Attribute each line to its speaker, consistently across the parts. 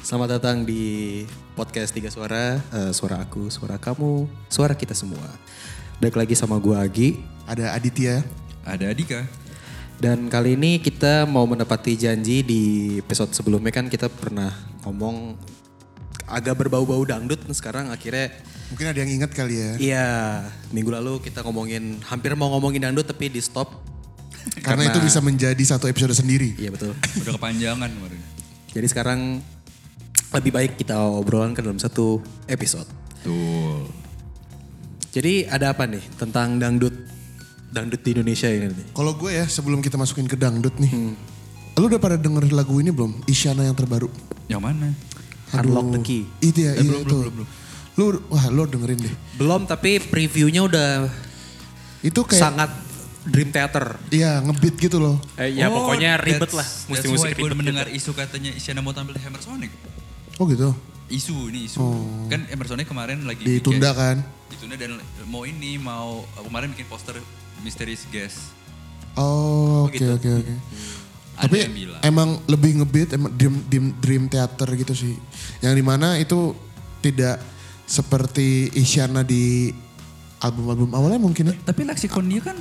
Speaker 1: Selamat datang di podcast Tiga Suara, Eh, suara aku, suara kamu, suara kita semua. Balik lagi sama gue Agi
Speaker 2: Ada Aditya.
Speaker 3: Ada Adika.
Speaker 1: dan kali ini kita mau menepati janji di episode sebelumnya kan kita pernah ngomong agak berbau-bau dangdut sekarang akhirnya
Speaker 2: Mungkin ada yang ingat kali ya.
Speaker 1: iya minggu lalu kita ngomongin hampir mau ngomongin dangdut tapi di stop
Speaker 2: Karena, itu bisa menjadi satu episode sendiri.
Speaker 1: iya betul
Speaker 3: Udah kepanjangan kemarin.
Speaker 1: jadi sekarang lebih baik kita obrolan ke dalam satu episode
Speaker 3: Tuh.
Speaker 1: Jadi ada apa nih tentang dangdut dangdut di Indonesia ini? nih?
Speaker 2: Kalau gue ya sebelum kita masukin ke dangdut nih.
Speaker 1: Hmm.
Speaker 2: Lu udah pada denger lagu ini belum? Isyana yang terbaru.
Speaker 3: Yang mana?
Speaker 1: Unlock the key. Eh,
Speaker 2: Itu ya, iya itu. Lu wah lu dengerin deh.
Speaker 1: Belum tapi previewnya udah
Speaker 2: Itu kayak
Speaker 1: sangat dream theater.
Speaker 2: iya ngebeat gitu loh.
Speaker 1: Eh, ya
Speaker 3: Oh,
Speaker 1: pokoknya ribet
Speaker 3: that's-
Speaker 1: lah,
Speaker 3: That's
Speaker 1: mesti-mesti
Speaker 3: why gue
Speaker 1: ribet. gitu.
Speaker 3: mendengar isu katanya Isyana mau tampil di Hammer Sonic.
Speaker 2: Oh gitu.
Speaker 3: Isu, ini isu. Kan Hammer Sonic kemarin
Speaker 2: Oh.
Speaker 3: lagi
Speaker 1: Iya,
Speaker 2: Ditunda
Speaker 3: bikin-
Speaker 2: kan.
Speaker 3: Ditunda dan mau ini, mau eh, kemarin bikin poster Mysterious Guest.
Speaker 2: Oh, oke oke oke.
Speaker 3: Ada
Speaker 2: Tapi
Speaker 3: yang bilang.
Speaker 2: emang lebih ngebeat emang dream, dream, dream theater gitu sih. Yang dimana itu tidak seperti Isyana di album-album awalnya mungkin ya.
Speaker 3: Tapi leksikon dia kan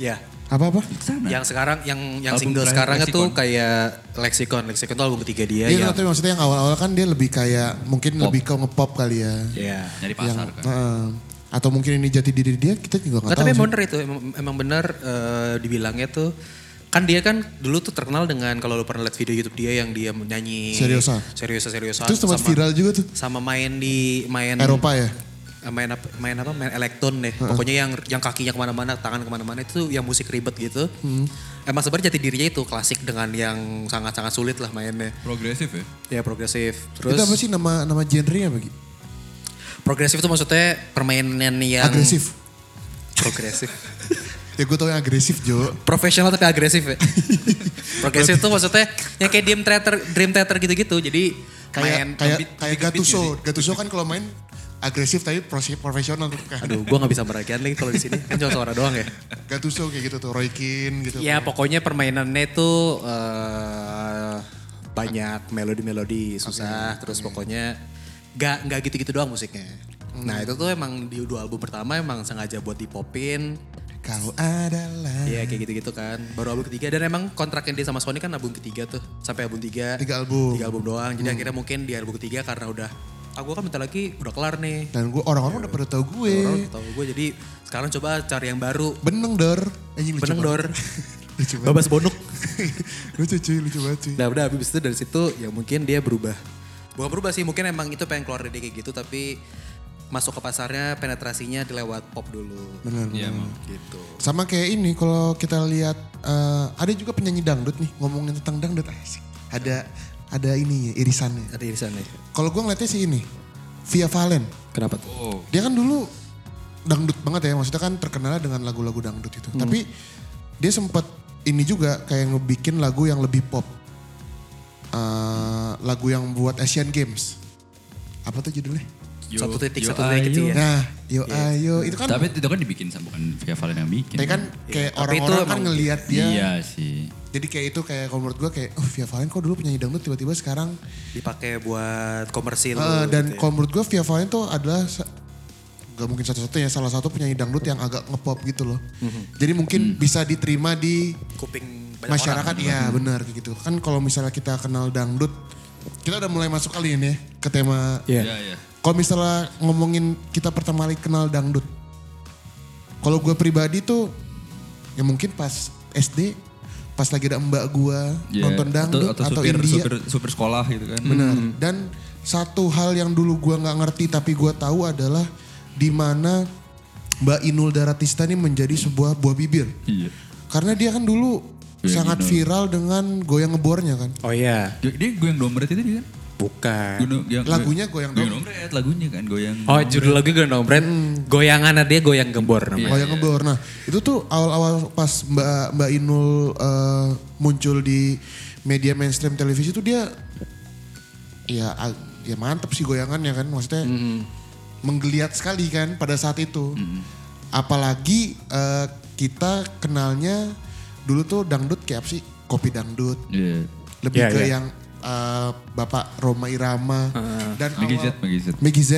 Speaker 1: Ya,
Speaker 2: Apa-apa?
Speaker 3: kesana.
Speaker 1: yang sekarang yang yang
Speaker 3: Album
Speaker 1: single
Speaker 3: terakhir
Speaker 1: sekarang
Speaker 3: Lexicon.
Speaker 1: tuh kayak Lexicon, Lexicon tuh album ketiga dia
Speaker 2: Iya,
Speaker 1: yang
Speaker 2: tapi maksudnya yang awal-awal kan dia lebih kayak mungkin lebih ke ngepop kali ya.
Speaker 1: ya.
Speaker 3: Nyari pasar kan.
Speaker 2: Heeh. atau mungkin ini jati diri dia kita juga
Speaker 1: Nggak,
Speaker 2: nggak tahu.
Speaker 1: tapi
Speaker 2: sih.
Speaker 1: emang bener itu, emang, emang bener eh, dibilangnya tuh kan dia kan dulu tuh terkenal dengan kalau lu pernah lihat video YouTube dia yang dia menyanyi
Speaker 2: Seriosa.
Speaker 1: seriusa seriusa
Speaker 2: Terus sempat viral juga tuh
Speaker 1: sama main di main
Speaker 2: Eropa ya.
Speaker 1: Eh, main apa main apa main elektron deh pokoknya yang yang kakinya kemana-mana tangan kemana-mana itu yang musik ribet gitu
Speaker 2: Hmm.
Speaker 1: emang sebenarnya jati dirinya itu klasik dengan yang sangat-sangat sulit lah mainnya
Speaker 3: Progresif ya.
Speaker 1: ya progresif
Speaker 2: Itu apa
Speaker 1: terus
Speaker 2: sih nama nama genre-nya bagi?
Speaker 1: progresif itu maksudnya permainan yang
Speaker 2: Agresif.
Speaker 1: progresif
Speaker 2: Ya gue tau yang agresif Jo.
Speaker 1: profesional tapi agresif ya progresif itu maksudnya yang kayak dream theater dream theater gitu-gitu jadi main
Speaker 2: Kayak kayak
Speaker 3: beat-
Speaker 2: kayak
Speaker 3: bikin beat
Speaker 2: Gattuso. Gattuso kan kalau main agresif tapi prosi- profesional tuh kan.
Speaker 1: aduh gua nggak bisa meragian lagi kalau di sini kan cuma suara doang ya
Speaker 2: Gattuso kayak gitu tuh, Roy Keane gitu.
Speaker 1: Ya pokoknya permainannya itu eh, banyak melodi-melodi susah, terus pokoknya nggak nggak gitu-gitu doang musiknya. Nah itu tuh emang di dua album pertama emang sengaja buat dipopin,
Speaker 2: Kau adalah
Speaker 1: ya kayak gitu-gitu kan. Baru album ketiga dan emang kontraknya dia sama Sony kan album ketiga tuh sampai album tiga,
Speaker 2: tiga album. Hmm.
Speaker 1: tiga album doang. Jadi akhirnya mungkin di album ketiga karena udah, aku kan bentar lagi udah kelar nih.
Speaker 2: Dan gue orang-orang udah pada tahu gue.
Speaker 1: Orang tahu gue jadi sekarang coba cari yang baru,
Speaker 2: Beneng dor. Anjing lucu
Speaker 1: beneng
Speaker 2: banget.
Speaker 1: dor,
Speaker 2: Lucu banget.
Speaker 1: babas bonuk.
Speaker 2: lucu cuy, lucu banget cuy.
Speaker 1: Nah udah habis itu dari situ ya mungkin dia berubah. Bukan berubah sih mungkin emang itu pengen keluar dari dia kayak gitu tapi masuk ke pasarnya penetrasinya lewat pop dulu
Speaker 2: Bener.
Speaker 3: Iya mau.
Speaker 1: gitu.
Speaker 2: Sama kayak ini kalau kita lihat eh, ada juga penyanyi dangdut nih ngomongin tentang dangdut asik. Ada ada ininya irisannya.
Speaker 1: Ada irisannya.
Speaker 2: Kalau gue ngeliatnya sih ini Via Valen.
Speaker 1: Kenapa tuh?
Speaker 3: Oh.
Speaker 2: Dia kan dulu dangdut banget ya maksudnya kan terkenal dengan lagu-lagu dangdut itu.
Speaker 1: Hmm.
Speaker 2: Tapi dia sempat ini juga kayak ngebikin lagu yang lebih pop. Eh, lagu yang buat Asian Games. Apa tuh judulnya?
Speaker 3: Yo-
Speaker 1: satu titik
Speaker 3: yo
Speaker 1: satu titik
Speaker 3: ayo.
Speaker 1: kecil ya.
Speaker 2: Nah, yo ayo itu kan
Speaker 3: Tapi itu kan dibikin sama bukan Via Valen yang bikin.
Speaker 2: tapi kan kayak
Speaker 1: Iya. Tapi itu
Speaker 2: orang-orang kan
Speaker 1: emang-
Speaker 2: ngelihat dia
Speaker 3: Iya sih.
Speaker 2: Jadi kayak itu kayak kalau menurut gue kayak, oh Via Valen kok dulu penyanyi dangdut tiba-tiba sekarang.
Speaker 1: Dipakai buat komersil.
Speaker 2: Eh,
Speaker 1: dulu
Speaker 2: dan
Speaker 1: gitu ya.
Speaker 2: kalau menurut gue Via Valen tuh adalah sa- gak mungkin satu-satunya salah satu penyanyi dangdut yang agak ngepop gitu loh. Jadi mungkin bisa diterima di
Speaker 1: kuping Mhm. banyak
Speaker 2: masyarakat ya benar kayak gitu. Kan kalau misalnya kita kenal dangdut, kita udah mulai masuk kali ini ya ke tema.
Speaker 1: Iya.
Speaker 3: Iya iya.
Speaker 2: Kalau misalnya ngomongin kita pertama kali kenal dangdut. Kalau gue pribadi tuh ya mungkin pas SD pas lagi ada mbak gua
Speaker 3: Iya.
Speaker 2: nonton dangdut atau,
Speaker 3: supir,
Speaker 2: India
Speaker 3: supir, supir sekolah gitu kan.
Speaker 2: Benar. Hmm. Dan satu hal yang dulu gua nggak ngerti tapi gua tahu adalah di mana Mbak Inul Daratista ini menjadi sebuah buah bibir.
Speaker 3: Iya.
Speaker 2: Karena dia kan dulu sangat viral dengan goyang ngebornya kan.
Speaker 1: orang. Oh iya,
Speaker 3: Dia, dia goyang dombret itu dia kan?
Speaker 1: bukan.
Speaker 3: Gono- goyang-
Speaker 2: Lagunya goyang
Speaker 3: goyang dombret lagunya kan goyang.
Speaker 1: Oh judul lagu gue brand goyangan dia goyang gembor namanya.
Speaker 2: goyang ngebor. Nah, itu tuh awal-awal pas Mbak Mbak Inul eh, muncul di media mainstream televisi tuh dia ya ag- ya mantep sih goyangannya kan maksudnya
Speaker 1: Mhm.
Speaker 2: menggeliat sekali kan pada saat itu. Apalagi eh, kita kenalnya dulu tuh dangdut kayak apa sih? Kopi dangdut.
Speaker 3: Iya.
Speaker 2: Lebih
Speaker 1: Iya,
Speaker 2: ke
Speaker 1: iya.
Speaker 2: yang eh, Bapak Roma Irama
Speaker 1: Ah,
Speaker 2: dan
Speaker 3: Meggy Z,
Speaker 2: awal-
Speaker 3: Meggy Z.
Speaker 2: Meggy Z,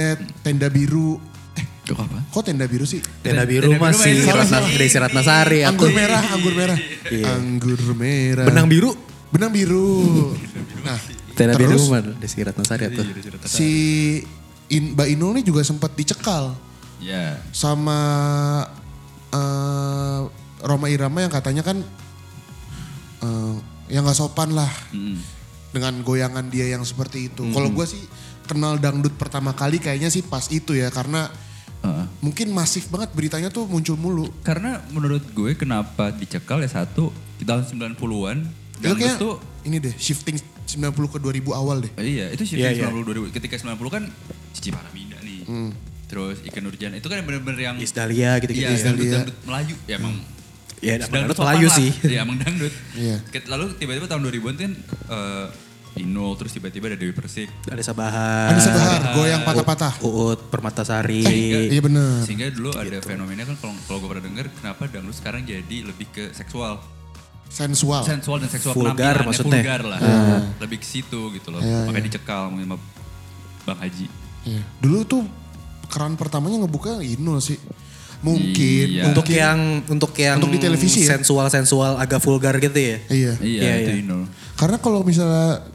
Speaker 2: Tenda Biru. Eh,
Speaker 3: Tuh apa?
Speaker 2: kok Tenda Biru sih?
Speaker 1: Tenda biru
Speaker 3: Tenda Biru
Speaker 1: masih Iya.
Speaker 3: masih.
Speaker 1: Ratna, Desi Ratnasari.
Speaker 2: Anggur
Speaker 1: aku.
Speaker 2: merah, anggur merah. Anggur merah.
Speaker 1: Benang biru.
Speaker 2: Benang biru. Nah,
Speaker 1: Tenda biru
Speaker 2: terus
Speaker 1: mana? Desi Ratnasari atau?
Speaker 2: si In, Mbak Inul nih juga sempat dicekal
Speaker 3: Ya.
Speaker 2: sama eh, Roma Irama yang katanya kan eh, yang nggak sopan lah dengan goyangan dia yang seperti itu. Kalau gue sih kenal dangdut pertama kali kayaknya sih pas itu ya karena
Speaker 3: Heeh.
Speaker 2: mungkin masif banget beritanya tuh muncul mulu.
Speaker 3: Karena menurut gue kenapa dicekal ya satu di tahun 90-an
Speaker 1: Iya,
Speaker 2: Itu
Speaker 3: dangdut
Speaker 2: kayak
Speaker 3: tuh
Speaker 2: ini deh shifting 90 ke 2000 awal deh.
Speaker 3: Iya, itu sih
Speaker 1: Iya, iya.
Speaker 3: 90 2000. Ketika 90 kan Cici Paraminda nih. Terus Ikan Nurjan itu kan bener-bener yang
Speaker 1: Is Dahlia gitu-gitu.
Speaker 3: Iya,
Speaker 1: ya.
Speaker 3: dangdut, dangdut Melayu. Ya emang
Speaker 1: Ya,
Speaker 3: dangdut
Speaker 1: dangdut
Speaker 3: sopan
Speaker 1: Melayu
Speaker 3: lah.
Speaker 1: sih.
Speaker 3: Iya, emang dangdut.
Speaker 2: Iya.
Speaker 3: Ket- Lalu tiba-tiba tahun 2000-an kan eh Inul terus tiba-tiba ada Dewi Persik.
Speaker 1: Anissa Bahar.
Speaker 2: Anissa Bahar, goyang patah-patah.
Speaker 1: Uut Permatasari.
Speaker 2: Iya bener.
Speaker 3: Sehingga dulu ada
Speaker 1: Gitu.
Speaker 3: fenomena kan kalau kalau gue pernah dengar kenapa dangdut sekarang jadi lebih ke seksual.
Speaker 2: Sensual.
Speaker 3: Sensual dan seksual
Speaker 1: Vulgar
Speaker 3: penampilannya,
Speaker 1: maksudnya.
Speaker 3: vulgar lah. Lebih ke situ gitu loh.
Speaker 2: Iya,
Speaker 3: Makanya dicekal mungkin sama Bang Haji.
Speaker 2: Iya. Dulu tuh keran pertamanya ngebuka Inul sih. Mungkin.
Speaker 3: Iya.
Speaker 1: Untuk
Speaker 2: mungkin.
Speaker 1: yang untuk yang
Speaker 2: Untuk di televisi ya?
Speaker 1: sensual-sensual agak vulgar gitu ya.
Speaker 2: Iya.
Speaker 3: Iya,
Speaker 1: Iya,
Speaker 3: itu
Speaker 1: iya.
Speaker 3: Inul.
Speaker 2: Karena kalau misalnya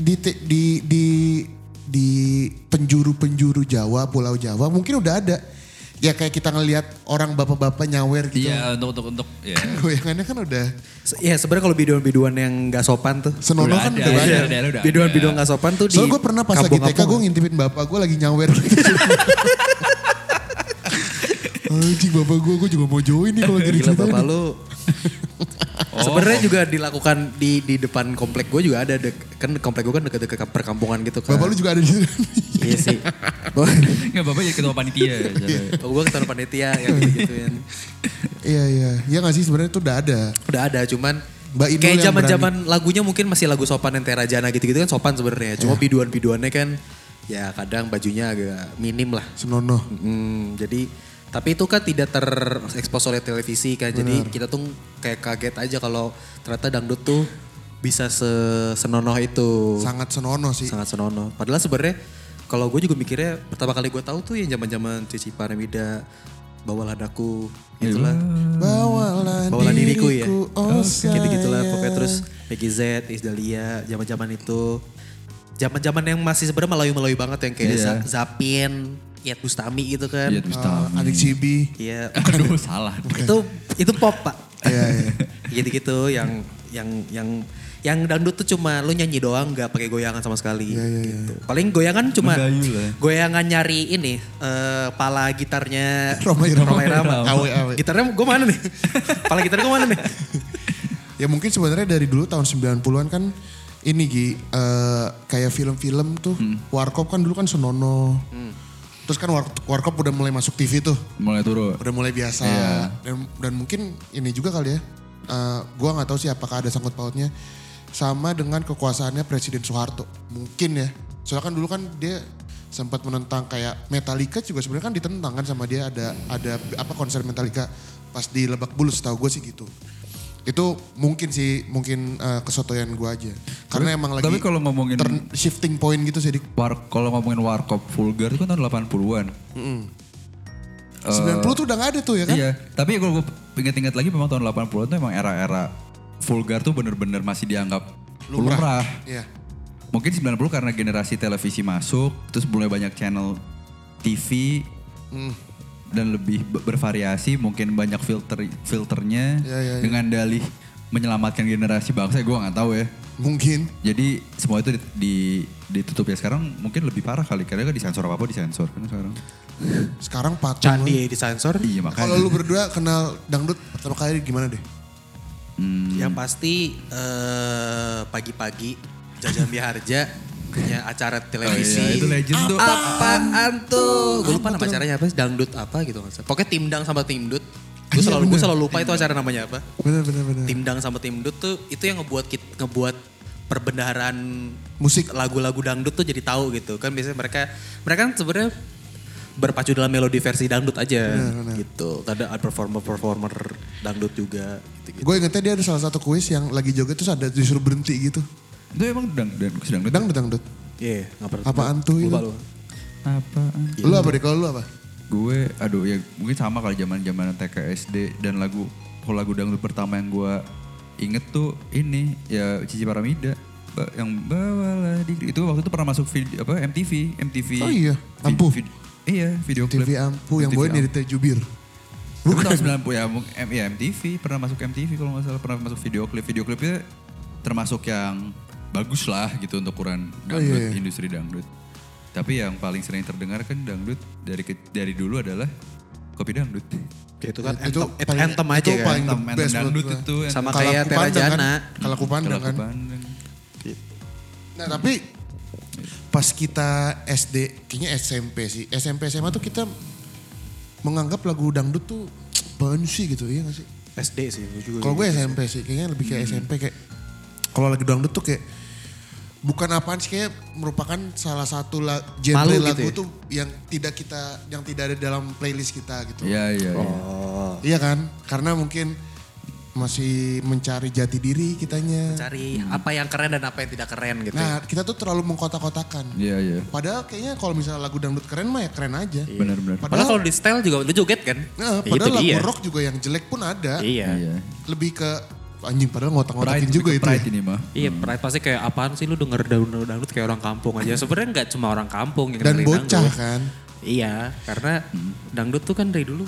Speaker 2: di te- di di di penjuru-penjuru Jawa, Pulau Jawa mungkin udah ada. Ya kayak kita ngelihat orang bapak-bapak nyawer gitu.
Speaker 3: Iya, untuk untuk untuk ya.
Speaker 2: Goyangannya kan udah
Speaker 1: Se- Iya sebenarnya kalau biduan-biduan yang gak sopan tuh.
Speaker 2: senonoh
Speaker 3: Udah
Speaker 2: kan udah
Speaker 3: ada, iya.
Speaker 2: banyak.
Speaker 3: Udah ada, udah ada.
Speaker 1: Biduan-biduan gak sopan tuh
Speaker 2: Soalnya
Speaker 1: di
Speaker 2: gue pernah pas lagi TK
Speaker 1: kampung-kampung.
Speaker 2: gue ngintipin bapak gue lagi nyawer. gitu. Anjing bapak gue, gue juga mau join nih kalau gini
Speaker 1: Gila bapak lu.
Speaker 3: Oh.
Speaker 1: Sebenarnya juga dilakukan di di depan komplek gue juga ada dek, kan komplek gue kan deket-deket ke perkampungan gitu kan.
Speaker 2: Bapak lu juga ada di sini.
Speaker 1: Iya sih.
Speaker 3: Enggak bapak jadi ketua panitia. Jadi-
Speaker 1: gue ketahuan panitia ya, gitu-, yang gitu-gituin.
Speaker 2: Iya iya, iya nggak sih sebenarnya itu udah ada.
Speaker 1: Udah ada cuman
Speaker 2: Mbak Inul
Speaker 1: kayak
Speaker 2: yang
Speaker 1: zaman-zaman lagunya mungkin masih lagu sopan yang Tera Jana gitu-gitu kan sopan sebenarnya. Cuma
Speaker 2: Iya.
Speaker 1: biduan-biduannya kan ya kadang bajunya agak minim lah.
Speaker 2: Senonoh.
Speaker 1: Hmm, jadi tapi itu kan tidak terekspos oleh televisi kan. Jadi kita tuh kayak kaget aja kalau ternyata dangdut tuh bisa se- senonoh itu.
Speaker 2: Sangat senonoh sih.
Speaker 1: Sangat senonoh. Padahal sebenarnya kalau gue juga mikirnya pertama kali gue tahu tuh yang zaman-zaman Cici Paramida bawa ladaku itulah
Speaker 2: Bawalah,
Speaker 1: bawalah diriku ya.
Speaker 2: Iya. Oh,
Speaker 1: gitu gitulah
Speaker 2: sayang.
Speaker 1: pokoknya terus Peggy Z, Is Dahlia, zaman-zaman itu. Zaman-zaman yang masih sebenarnya Melayu-Melayu banget yang kayak
Speaker 3: Iya.
Speaker 1: Za- Zapin, Iyad Bustami gitu kan.
Speaker 3: Iya,
Speaker 2: Ah,
Speaker 3: Bustami.
Speaker 2: adik Cibi.
Speaker 1: Iya.
Speaker 3: Aduh, salah.
Speaker 1: itu itu pop pak
Speaker 2: Iya iya.
Speaker 1: gitu-gitu yang yang yang yang dangdut tuh cuma lu nyanyi doang nggak pakai goyangan sama sekali gitu. paling goyangan cuma
Speaker 3: Iya, Mendayu lah.
Speaker 1: goyangan nyari ini eh pala gitarnya
Speaker 2: Roma Irama.
Speaker 1: Roma Irama.
Speaker 2: Awe, awe.
Speaker 1: gitarnya gue mana nih pala gitar gue mana nih
Speaker 2: Ya mungkin sebenarnya dari dulu tahun 90-an kan ini Gi, eh, kayak film-film tuh
Speaker 1: Hmm.
Speaker 2: Warkop kan dulu kan senonoh. Terus kan War- Warkop udah mulai masuk TV tuh.
Speaker 3: Mulai turun.
Speaker 2: udah mulai biasa
Speaker 3: Iya.
Speaker 2: dan dan mungkin ini juga kali ya eh, gua nggak tahu sih apakah ada sangkut pautnya sama dengan kekuasaannya Presiden Soeharto mungkin ya soalnya kan dulu kan dia sempat menentang kayak Metallica juga sebenarnya kan ditentang kan sama dia ada ada apa konser Metallica pas di Lebak Bulus tahu gue sih gitu itu mungkin sih mungkin eh, kesotoyan gue aja karena emang lagi
Speaker 3: Tapi kalau ngomongin Eh,
Speaker 2: turn- shifting point gitu sih di
Speaker 3: war, kalau ngomongin warkop vulgar itu kan tahun 80-an.
Speaker 2: 90 tuh udah gak ada tuh ya kan
Speaker 3: Iya, tapi kalau gue inget-inget lagi memang tahun 80-an tuh emang era-era vulgar tuh bener-bener masih dianggap lumrah.
Speaker 2: Iya.
Speaker 3: Mungkin 90 karena generasi televisi masuk, terus mulai banyak channel TV
Speaker 2: Hmm,
Speaker 3: dan lebih be- bervariasi, mungkin banyak filter filternya
Speaker 2: Iya, iya, iya.
Speaker 3: dengan dalih menyelamatkan generasi bangsa, gue nggak tahu ya.
Speaker 2: mungkin
Speaker 3: Jadi semua itu di, di- ditutup ya sekarang mungkin lebih parah kali karena kan disensor apa apa disensor kan sekarang.
Speaker 2: sekarang patung
Speaker 1: candi disensor
Speaker 3: Iya makanya.
Speaker 2: Kalau lu berdua kenal dangdut pertama kali gimana deh?
Speaker 3: Hmm.
Speaker 2: Ya,
Speaker 1: yang pasti eh, pagi-pagi jajan biharja punya acara televisi
Speaker 3: Oh, iya. itu legend tuh.
Speaker 1: apaan tuh? Gue lupa nama acaranya apa, sih, dangdut apa gitu nggak salah. Pokoknya timdang sama timdut.
Speaker 2: Iya,
Speaker 1: Gue selalu gue selalu lupa itu acara namanya apa.
Speaker 2: Bener bener bener.
Speaker 1: Timdang sama timdut tuh itu yang ngebuat kit, ngebuat perbendaharaan
Speaker 2: Musik.
Speaker 1: lagu-lagu dangdut tuh jadi tahu gitu. Kan biasanya mereka mereka kan sebenarnya berpacu dalam melodi versi dangdut aja
Speaker 2: Iya,
Speaker 1: gitu. Ada performer-performer dangdut juga gitu.
Speaker 2: Gue ingetnya dia ada salah satu kuis yang lagi joget terus ada disuruh berhenti gitu.
Speaker 3: Itu emang dang dang sedang
Speaker 2: Dangdut, dangdut.
Speaker 1: Iya, nggak pernah.
Speaker 2: Apaan tuh itu?
Speaker 1: Lupa lu.
Speaker 3: Apaan?
Speaker 2: Lu apa deh kalau lu apa?
Speaker 3: Gue aduh ya mungkin sama kali zaman zaman TK SD dan lagu kalau lagu dangdut pertama yang gue inget tuh ini ya Cici Paramida Ba- yang bawalah di itu waktu itu pernah masuk video apa MTV MTV
Speaker 2: Oh iya,
Speaker 3: Vi-
Speaker 2: Ampuh.
Speaker 3: vid- iya video klip
Speaker 2: TV Ampu yang
Speaker 3: MTV
Speaker 2: boleh
Speaker 3: Ampuh.
Speaker 2: dari Jubir.
Speaker 3: Bukan tahun 90 ya, mung- em- ya MTV, pernah masuk MTV kalau nggak salah, pernah masuk video klip. Video klipnya termasuk yang bagus lah gitu untuk ukuran
Speaker 2: Oh,
Speaker 3: dangdut,
Speaker 2: iya, iya.
Speaker 3: industri dangdut. Tapi yang paling sering terdengar kan dangdut dari ke- dari dulu adalah kopi dangdut.
Speaker 1: Kayak itu kan
Speaker 2: Itu
Speaker 1: anthem, itu
Speaker 2: paling-
Speaker 1: anthem aja
Speaker 2: itu
Speaker 1: kan.
Speaker 2: paling- the
Speaker 3: Anthem, anthem
Speaker 2: best buat
Speaker 3: dangdut
Speaker 2: gua.
Speaker 3: itu. anthem
Speaker 1: Sama
Speaker 3: Kalau
Speaker 1: kayak
Speaker 2: Kalau aku pandang
Speaker 1: Terajana.
Speaker 2: kan? Kalau aku pandang kan.
Speaker 3: Bandeng.
Speaker 2: Nah tapi pas kita SD, kayaknya SMP sih. SMP SMA tuh kita menganggap lagu dangdut tuh apaan sih gitu, iya gak sih?
Speaker 1: SD sih itu juga.
Speaker 2: Kalau gue
Speaker 1: gitu. Hmm.
Speaker 2: SMP sih, kayaknya lebih kayak SMP kayak kalau lagi dangdut tuh kayak bukan apaan sih kayak merupakan salah satu la, genre
Speaker 1: Malu gitu
Speaker 2: lagu
Speaker 1: ya?
Speaker 2: tuh yang tidak kita yang tidak ada dalam playlist kita gitu.
Speaker 3: Iya, iya, iya.
Speaker 1: Oh,
Speaker 2: Iya kan? Karena mungkin masih mencari jati diri kitanya.
Speaker 1: cari apa yang keren dan apa yang tidak keren gitu. ya.
Speaker 2: Nah, kita tuh terlalu mengkotak-kotakan.
Speaker 3: Iya, iya.
Speaker 2: Padahal kayaknya kalau misalnya lagu dangdut keren mah ya keren aja.
Speaker 1: Iya.
Speaker 3: Benar-benar.
Speaker 1: Padahal
Speaker 2: Padahal,
Speaker 1: kalau di style juga lu joget kan?
Speaker 2: Nah,
Speaker 1: Ya,
Speaker 2: padahal
Speaker 1: itu
Speaker 2: lagu
Speaker 1: dia.
Speaker 2: rock juga yang jelek pun ada.
Speaker 1: Iya.
Speaker 3: Iya.
Speaker 2: Lebih ke anjing padahal ngotak-ngotakin
Speaker 3: Pride-
Speaker 2: juga itu.
Speaker 3: Pride
Speaker 2: ya.
Speaker 3: ini mah.
Speaker 1: Iya, Pride pasti kayak apaan sih lu denger dangdut dangdut kayak orang kampung aja. Sebenarnya nggak cuma orang kampung yang
Speaker 2: Hmm. Dan
Speaker 1: dengerin
Speaker 2: bocah Hmm.
Speaker 1: dangdut.
Speaker 2: kan.
Speaker 1: Iya, karena dangdut tuh kan dari dulu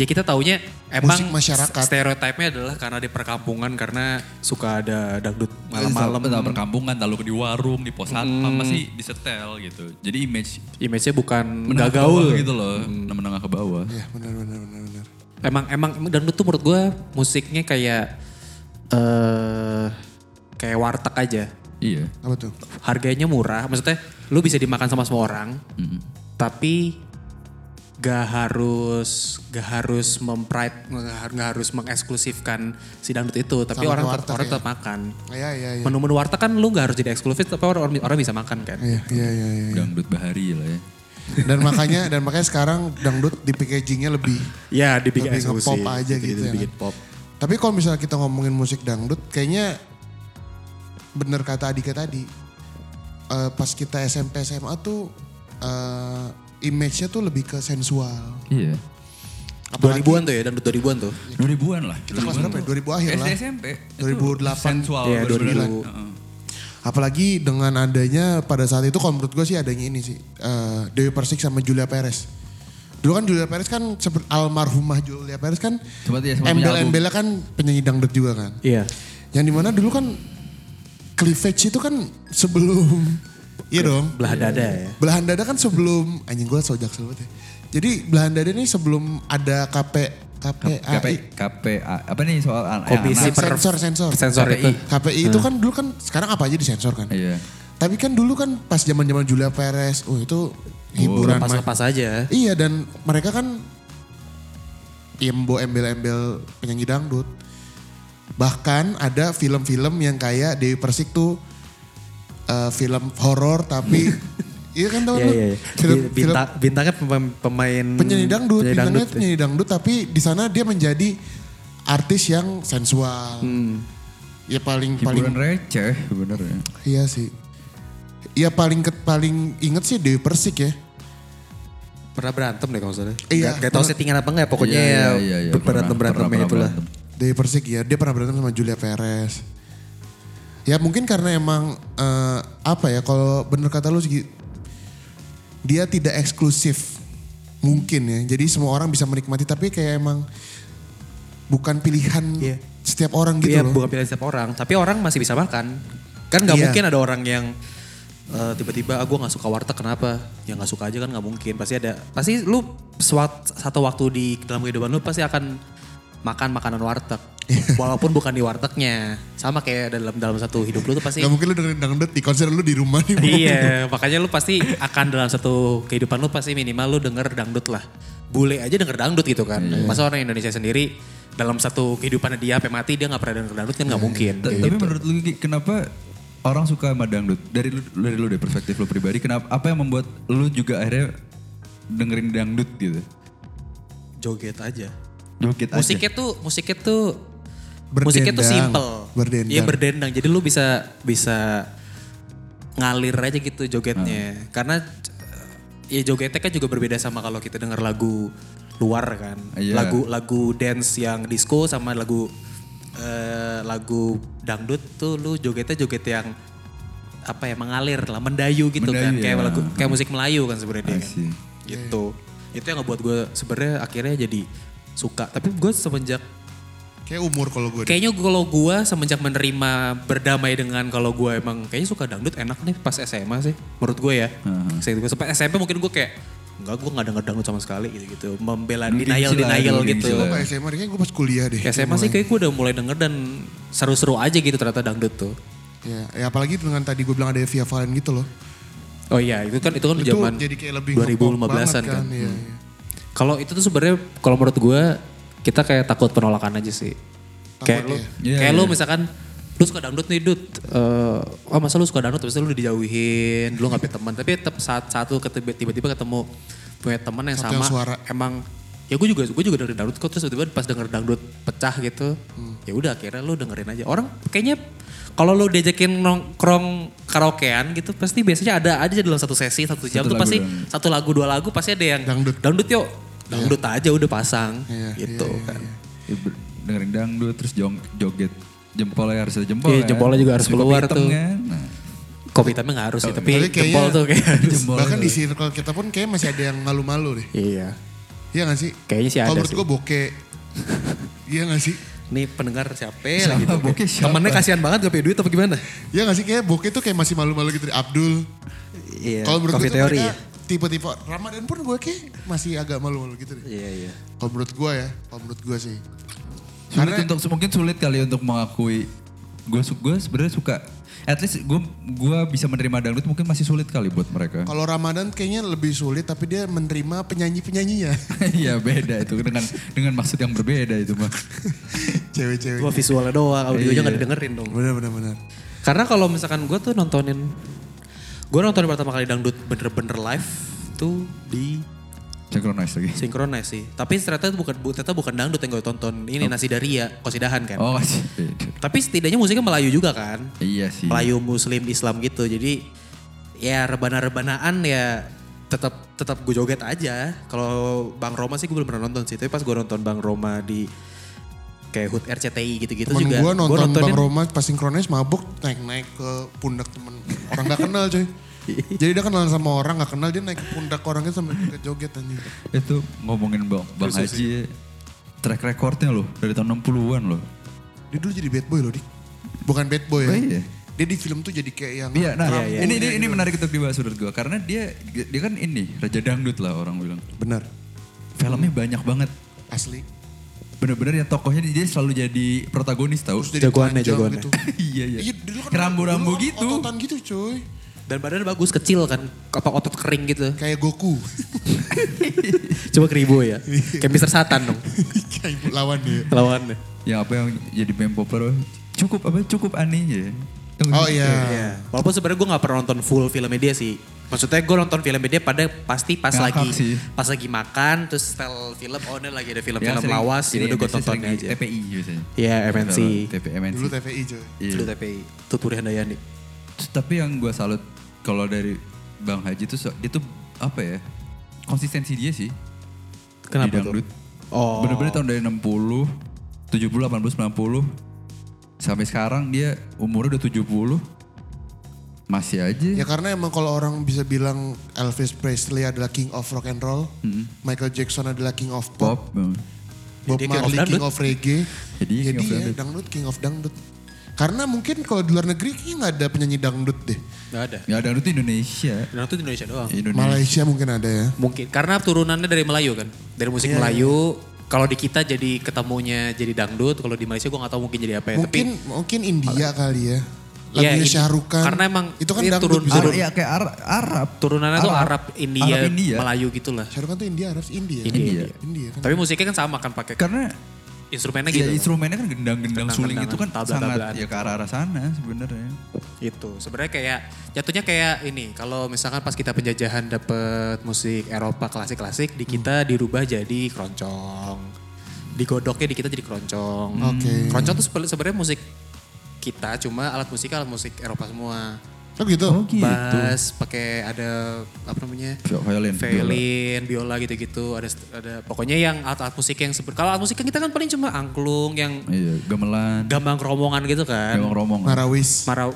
Speaker 1: ya kita taunya emang
Speaker 2: Musik masyarakat.
Speaker 1: stereotipnya adalah karena di perkampungan karena suka ada dangdut malam-malam.
Speaker 3: Entah perkampungan, lalu di warung, di pos
Speaker 2: Mm.
Speaker 3: satpam, pasti disetel gitu. Jadi image
Speaker 1: Image-nya bukan
Speaker 3: menengah
Speaker 1: nggak
Speaker 3: ke bawah
Speaker 1: gaul.
Speaker 3: gitu loh, menengah menengah ke bawah.
Speaker 2: Iya benar benar benar benar.
Speaker 1: Emang emang dangdut tuh menurut gue musiknya kayak eh kayak warteg aja.
Speaker 3: Iya.
Speaker 2: Apa tuh?
Speaker 1: Harganya murah, maksudnya lu bisa dimakan sama semua orang, tapi gak harus gak harus mempride gak har- gak harus mengeksklusifkan si dangdut itu tapi
Speaker 2: Sama
Speaker 1: orang
Speaker 2: ke
Speaker 1: tetap
Speaker 2: warteg
Speaker 1: orang
Speaker 2: ya.
Speaker 1: tetap makan
Speaker 2: Iya iya iya.
Speaker 1: menu-menu warteg kan lu gak harus jadi eksklusif tapi orang orang, orang bisa makan kan
Speaker 2: Iya iya iya. iya.
Speaker 3: Dangdut bahari lah ya.
Speaker 2: Dan makanya dan makanya sekarang dangdut di packagingnya lebih.
Speaker 1: ya dibikin
Speaker 2: Lebih
Speaker 1: eksklusif
Speaker 2: nge-pop aja gitu ya,
Speaker 1: dibikin
Speaker 2: kan?
Speaker 1: pop
Speaker 2: Tapi kalau misalnya kita ngomongin musik dangdut, kayaknya bener kata Adika tadi. eh, pas kita SMP SMA tuh eh, image-nya tuh lebih ke sensual.
Speaker 3: Iya.
Speaker 1: 2000-an tuh ya dangdut 2000-an tuh
Speaker 3: 2000-an lah.
Speaker 2: Kita kelas berapa ya? 2000 akhir
Speaker 3: SD
Speaker 2: lah.
Speaker 3: SMP.
Speaker 2: 2008.
Speaker 3: Sensual.
Speaker 1: Iya,
Speaker 3: 2009.
Speaker 1: 2000.
Speaker 3: Heeh.
Speaker 2: Apalagi dengan adanya pada saat itu kalau menurut gue sih adanya ini sih. eh, Dewi Persik sama Julia Perez. Dulu kan Julia Perez kan seperti almarhumah Julia Perez kan
Speaker 3: Cuma dia sama punya
Speaker 2: embel-embelnya kan penyanyi dangdut juga kan.
Speaker 1: iya
Speaker 2: Yang dimana dulu kan cleavage itu kan sebelum iya dong.
Speaker 1: belah dada ya
Speaker 2: Belahan dada kan sebelum anjing gue sojak banget ya. Jadi belahan dada ini sebelum ada KP
Speaker 3: KP,
Speaker 2: KPI
Speaker 3: KPA. Apa nih soal an- ya,
Speaker 1: Komisi
Speaker 3: anak?
Speaker 1: per-
Speaker 2: sensor sensor
Speaker 1: sensor
Speaker 3: KPI.
Speaker 1: itu
Speaker 2: KPI itu kan dulu kan sekarang apa aja disensor kan.
Speaker 3: Iya.
Speaker 2: Tapi kan dulu kan pas zaman zaman Julia Perez, oh itu hiburan.
Speaker 1: lepas
Speaker 2: ma-
Speaker 1: lepas aja
Speaker 2: Iya dan mereka kan imbo embel-embel penyanyi dangdut. Bahkan ada film-film yang kayak Dewi Persik tuh eh, film horor tapi iya kan tau
Speaker 1: Iya,
Speaker 2: lu?
Speaker 1: iya, iya.
Speaker 2: Film, film
Speaker 1: Bintang, bintangnya pemain, pemain
Speaker 2: penyanyi dangdut,
Speaker 1: penyanyi
Speaker 2: bintangnya
Speaker 1: dangdut. iya.
Speaker 2: penyanyi dangdut tapi di sana dia menjadi artis yang sensual.
Speaker 1: Hmm.
Speaker 2: Ya paling paling
Speaker 3: Hiburan receh bener ya.
Speaker 2: Iya sih. Ya paling ke, paling inget sih Dewi Persik ya.
Speaker 1: Pernah berantem deh kalau salah.
Speaker 2: Iya.
Speaker 1: Gak, tau settingan apa enggak pokoknya
Speaker 3: Iya,
Speaker 1: ya,
Speaker 3: iya, iya, pernah,
Speaker 1: berantem-berantemnya
Speaker 3: pernah,
Speaker 1: itulah.
Speaker 3: pernah
Speaker 2: Dewi Persik ya, dia pernah berantem sama Julia Perez. Ya mungkin karena emang eh, apa ya kalau bener kata lu segi- dia tidak eksklusif mungkin ya. Jadi semua orang bisa menikmati tapi kayak emang bukan pilihan
Speaker 1: Iya.
Speaker 2: setiap orang gitu
Speaker 1: Iya
Speaker 2: loh.
Speaker 1: bukan pilihan setiap orang, tapi orang masih bisa makan. Kan nggak
Speaker 2: Iya.
Speaker 1: mungkin ada orang yang eh, tiba-tiba ah, gue nggak suka warteg kenapa? Ya nggak suka aja kan nggak mungkin. Pasti ada, pasti lu suat, satu waktu di dalam kehidupan lu pasti akan makan makanan warteg. Walaupun bukan di wartegnya, sama kayak dalam dalam satu hidup lu tuh pasti
Speaker 2: Gak mungkin lu dengerin dangdut di konser lu di rumah nih.
Speaker 1: iya, makanya lu pasti akan dalam satu kehidupan lu pasti minimal lu denger dangdut lah. Bule aja denger dangdut gitu kan. Masa orang Indonesia sendiri dalam satu kehidupannya dia sampai mati dia nggak pernah denger dangdut kan nggak mungkin.
Speaker 3: Ta-
Speaker 2: Gitu.
Speaker 3: Tapi menurut lu Ki, kenapa orang suka sama dangdut? Dari lu, dari lu deh perspektif lu pribadi, kenapa apa yang membuat lu juga akhirnya dengerin dangdut gitu?
Speaker 1: Joget aja.
Speaker 3: Joget aja.
Speaker 1: Musiknya tuh musiknya tuh musiknya tuh
Speaker 2: Berdendang.
Speaker 1: simple.
Speaker 2: Berdendang.
Speaker 1: Iya berdendang. Jadi lu bisa bisa ngalir aja gitu jogetnya.
Speaker 3: Hmm.
Speaker 1: Karena eh, ya jogetnya kan juga berbeda sama kalau kita denger lagu luar kan.
Speaker 3: Iya.
Speaker 1: Lagu lagu dance yang disco sama lagu eh, lagu dangdut tuh lu jogetnya joget yang apa ya mengalir lah mendayu gitu kan
Speaker 3: Mendayu,
Speaker 1: kayak
Speaker 3: ya.
Speaker 1: lagu kayak musik Melayu kan sebenarnya
Speaker 3: I
Speaker 1: kan
Speaker 3: see.
Speaker 1: gitu itu yang ngebuat gue sebenarnya akhirnya jadi suka tapi gue semenjak
Speaker 2: Kayak umur kalau gue. deh.
Speaker 1: Kayaknya kalau gue semenjak menerima berdamai dengan kalau gue emang kayaknya suka dangdut enak nih pas SMA sih menurut gue ya.
Speaker 3: Heeh.
Speaker 1: Saya gue sempat SMP mungkin gue kayak enggak gue nggak denger dangdut sama sekali gitu gitu membela
Speaker 3: Dulu
Speaker 1: denial
Speaker 3: gengsi lah,
Speaker 1: denial
Speaker 3: dulu
Speaker 1: gitu.
Speaker 3: gengsi
Speaker 2: Gue pas SMA, kayaknya gue pas kuliah deh.
Speaker 1: Kayak SMA sih kayak gue udah mulai denger dan seru-seru aja gitu ternyata dangdut tuh.
Speaker 2: Ya, ya apalagi dengan tadi gue bilang ada Via Valen gitu loh.
Speaker 1: Oh iya itu kan itu kan
Speaker 2: Itu
Speaker 1: zaman
Speaker 2: jadi kayak lebih
Speaker 1: 2015-an
Speaker 2: banget
Speaker 1: kan.
Speaker 2: Iya,
Speaker 1: Hmm.
Speaker 2: iya.
Speaker 1: Kalau itu tuh sebenarnya kalau menurut gue kita kayak takut penolakan aja sih.
Speaker 2: Takut
Speaker 1: kayak lu,
Speaker 2: ya?
Speaker 3: Iya,
Speaker 1: kayak
Speaker 3: iya.
Speaker 1: lu misalkan lu suka dangdut nih dud, Eh, oh masa lu suka dangdut terus lu dijauhin, lu gak punya teman. Tapi tetap saat satu ketiba- tiba-tiba ketemu punya teman yang sama,
Speaker 2: Satu yang suara.
Speaker 1: emang ya gue juga gue juga dengerin dangdut kok terus tiba-tiba pas denger dangdut pecah gitu
Speaker 2: Hmm.
Speaker 1: ya udah akhirnya lu dengerin aja orang kayaknya kalau lu diajakin nongkrong karaokean gitu pasti biasanya ada aja dalam satu sesi satu jam
Speaker 3: Satu
Speaker 1: tuh
Speaker 3: lagu
Speaker 1: pasti
Speaker 3: doang.
Speaker 1: satu lagu dua lagu pasti ada yang
Speaker 2: Dangdut.
Speaker 1: dangdut yuk dangdut aja udah pasang
Speaker 2: Iya,
Speaker 1: gitu kan
Speaker 3: Ya, ber- dengerin dangdut terus jong, joget jempolnya harus ada jempol
Speaker 1: Iya,
Speaker 3: kan.
Speaker 1: jempolnya juga harus
Speaker 3: Kopi
Speaker 1: keluar
Speaker 3: hitam
Speaker 1: tuh.
Speaker 3: kan. Nah,
Speaker 1: kopi tapi nggak harus sih tapi
Speaker 2: Tapi kayaknya-
Speaker 1: jempol tuh kayak harus.
Speaker 3: jempol
Speaker 2: Bahkan
Speaker 3: itu.
Speaker 2: di circle kita pun kayak masih ada yang malu-malu deh.
Speaker 1: iya
Speaker 2: Iya gak sih?
Speaker 1: Kayaknya sih
Speaker 2: Kalau
Speaker 1: ada
Speaker 2: menurut
Speaker 1: sih.
Speaker 2: gue bokeh. Iya gak sih?
Speaker 1: nih pendengar siapa lah gitu
Speaker 3: bokeh siapa?
Speaker 1: temennya kasihan banget gak punya duit apa gimana
Speaker 2: Iya gak sih? Kayak bokeh tuh kayak masih malu-malu gitu. deh. Abdul.
Speaker 1: iya
Speaker 2: Kalau menurut
Speaker 1: kopi
Speaker 2: gue tuh
Speaker 1: teori
Speaker 2: mereka tipe-tipe. Ramadan pun gue kayak masih agak malu-malu gitu deh.
Speaker 1: iya iya
Speaker 2: Kalau menurut gue ya. Kalau menurut gue sih.
Speaker 3: sulit untuk mungkin sulit kali untuk mengakui gue gue sebenarnya suka at least gue gua bisa menerima dangdut mungkin masih sulit kali buat mereka
Speaker 2: Kalau Ramadan kayaknya lebih sulit tapi dia menerima penyanyi-penyanyinya.
Speaker 3: Iya beda itu dengan dengan maksud yang berbeda itu mah.
Speaker 2: Cewek-cewek.
Speaker 1: cuma visualnya doang audionya
Speaker 3: Iya.
Speaker 1: nggak didengerin dong
Speaker 2: Bener-bener.
Speaker 1: Karena kalau misalkan gue tuh nontonin, gue nontonin pertama kali dangdut bener-bener live tuh di
Speaker 3: Synchronize lagi.
Speaker 1: Synchronize sih. Tapi ternyata itu bukan bu- ternyata bukan dangdut yang gue tonton.
Speaker 2: Oh.
Speaker 1: Ini nasi daria, kosidahan kan.
Speaker 3: Oh masih beda.
Speaker 1: Tapi setidaknya musiknya Melayu juga kan.
Speaker 3: Iya sih.
Speaker 1: Melayu Muslim Islam gitu. Jadi ya rebana-rebanaan ya tetap tetap gue joget aja. Kalau Bang Roma sih gue belum pernah nonton sih. Tapi pas gue nonton Bang Roma di kayak hut RCTI gitu-gitu juga.
Speaker 2: Temen gue
Speaker 1: gua
Speaker 2: nonton
Speaker 1: nontonin-
Speaker 2: Bang Roma pas sinkronis mabuk naik-naik ke pundak temen. Orang gak kenal cuy. Jadi dia kenal sama orang gak kenal dia naik ke pundak orangnya sampai joget anjing.
Speaker 3: Itu ngomongin bang bang Haji track recordnya loh dari tahun 60-an loh.
Speaker 2: Dia dulu jadi bad boy loh dik. Bukan bad boy ya.
Speaker 3: Oh, iya.
Speaker 2: Dia di film tuh jadi kayak yang
Speaker 3: Iya, nah
Speaker 2: rambutnya
Speaker 3: ini ini, ini
Speaker 2: gitu.
Speaker 3: menarik untuk dibahas menurut gue karena dia dia kan ini raja dangdut lah orang bilang.
Speaker 2: Bener.
Speaker 3: Filmnya banyak banget.
Speaker 2: Asli.
Speaker 3: Bener-bener ya tokohnya dia selalu jadi protagonis tau.
Speaker 2: Terus jadi
Speaker 1: Jagoannya,
Speaker 2: telanjang
Speaker 1: jagoannya.
Speaker 2: gitu.
Speaker 3: iya iya.
Speaker 2: Iya dulu kan dulu
Speaker 3: Rambu-rambu
Speaker 2: kan
Speaker 3: gitu.
Speaker 2: Ototan gitu cuy.
Speaker 1: Dan badannya bagus, kecil kan. Apa otot kering gitu.
Speaker 2: Kayak Goku.
Speaker 1: Coba keribu ya. Kayak Mister Satan dong
Speaker 2: kayak lawan dia.
Speaker 1: lawannya.
Speaker 3: Yang Ya, apa yang jadi meme popper cukup apa cukup aneh ya. Tunggu.
Speaker 2: Oh iya.
Speaker 1: Hmm. Walaupun sebenarnya gue nggak pernah nonton full filmnya dia sih. Maksudnya gue nonton filmnya dia pada pasti pas
Speaker 3: Ngakak
Speaker 1: lagi
Speaker 3: sih.
Speaker 1: pas lagi makan terus setel film oh ini lagi ada
Speaker 3: Ya,
Speaker 1: film-film
Speaker 3: sering-
Speaker 1: lawas ya
Speaker 3: ini
Speaker 1: udah gue
Speaker 3: biasanya
Speaker 1: tontonnya
Speaker 3: sering di
Speaker 1: aja.
Speaker 3: TPI biasanya.
Speaker 1: Iya MNC.
Speaker 3: TPI MNC.
Speaker 2: Dulu TVI cuy.
Speaker 3: Iya.
Speaker 1: Dulu TPI. Itu Puri Handayani.
Speaker 3: Terus, Tapi yang gue salut kalau dari Bang Haji itu so- itu apa ya? Konsistensi dia sih.
Speaker 1: Kenapa
Speaker 3: di
Speaker 1: tuh?
Speaker 3: dangdut.
Speaker 1: Oh.
Speaker 3: Bener-bener tahun dari 60, 70, 80, 90 sampai sekarang dia umurnya udah 70 masih aja.
Speaker 2: Ya karena emang kalau orang bisa bilang Elvis Presley adalah king of rock and roll, Michael Jackson adalah king of pop,
Speaker 3: Pop. Hmm.
Speaker 2: Bob
Speaker 1: Jadi king of
Speaker 2: Marley
Speaker 1: dangdut.
Speaker 2: king of reggae.
Speaker 3: Jadi king
Speaker 2: Jadi
Speaker 3: of
Speaker 2: ya
Speaker 3: dangdut.
Speaker 2: dangdut king of dangdut. Karena mungkin kalau di luar negeri kayaknya nggak ada penyanyi dangdut deh.
Speaker 1: Gak ada.
Speaker 3: Ya dangdut itu Indonesia.
Speaker 1: Dangdut di Indonesia doang.
Speaker 3: Indonesia.
Speaker 2: Malaysia mungkin ada ya.
Speaker 1: Mungkin karena turunannya dari Melayu kan. Dari musik
Speaker 3: Iya,
Speaker 1: Melayu. Kalau di kita jadi ketemunya jadi dangdut, kalau di Malaysia gue gak tahu mungkin jadi apa ya.
Speaker 2: Mungkin mungkin India kali ya.
Speaker 1: Iya,
Speaker 2: Lagunya
Speaker 1: ini-
Speaker 2: Syahrukan.
Speaker 1: karena emang
Speaker 2: itu kan
Speaker 1: ini
Speaker 2: dangdut
Speaker 1: turun-
Speaker 2: bisa.
Speaker 3: Ar-
Speaker 1: turun-
Speaker 3: ya kayak Ar- Arab.
Speaker 1: Tapi turunannya tuh Arab, India,
Speaker 3: Arab India.
Speaker 1: Melayu gitulah.
Speaker 2: Syahrukan tuh India harus India.
Speaker 1: India.
Speaker 3: India.
Speaker 2: India kan.
Speaker 1: Tapi musiknya kan sama kan pakai
Speaker 3: Karena
Speaker 1: instrumennya
Speaker 3: Ya,
Speaker 1: gitu.
Speaker 3: instrumennya kan gendang-gendang
Speaker 1: Gendang-gendangan,
Speaker 3: suling itu kan sangat
Speaker 1: tabla-tablaan.
Speaker 3: ya ke arah sana sebenarnya.
Speaker 1: Itu sebenarnya kayak jatuhnya kayak ini kalau misalkan pas kita penjajahan dapet musik Eropa klasik-klasik di kita dirubah jadi keroncong. digodoknya di kita jadi keroncong.
Speaker 2: Oke.
Speaker 1: Keroncong tuh sepe- sebenarnya musik kita cuma alat musik alat musik Eropa semua.
Speaker 2: Oh gitu.
Speaker 3: Oh gitu.
Speaker 1: Bass pakai ada apa namanya?
Speaker 3: Vio- Violin.
Speaker 1: Violin, biola gitu-gitu, ada ada pokoknya yang alat-alat musik yang seperti kalau alat musik kan kita kan paling cuma angklung yang
Speaker 3: Iya, gamelan.
Speaker 1: gambang keromongan gitu kan.
Speaker 3: Gawang romong.
Speaker 2: Marawis.
Speaker 1: Marau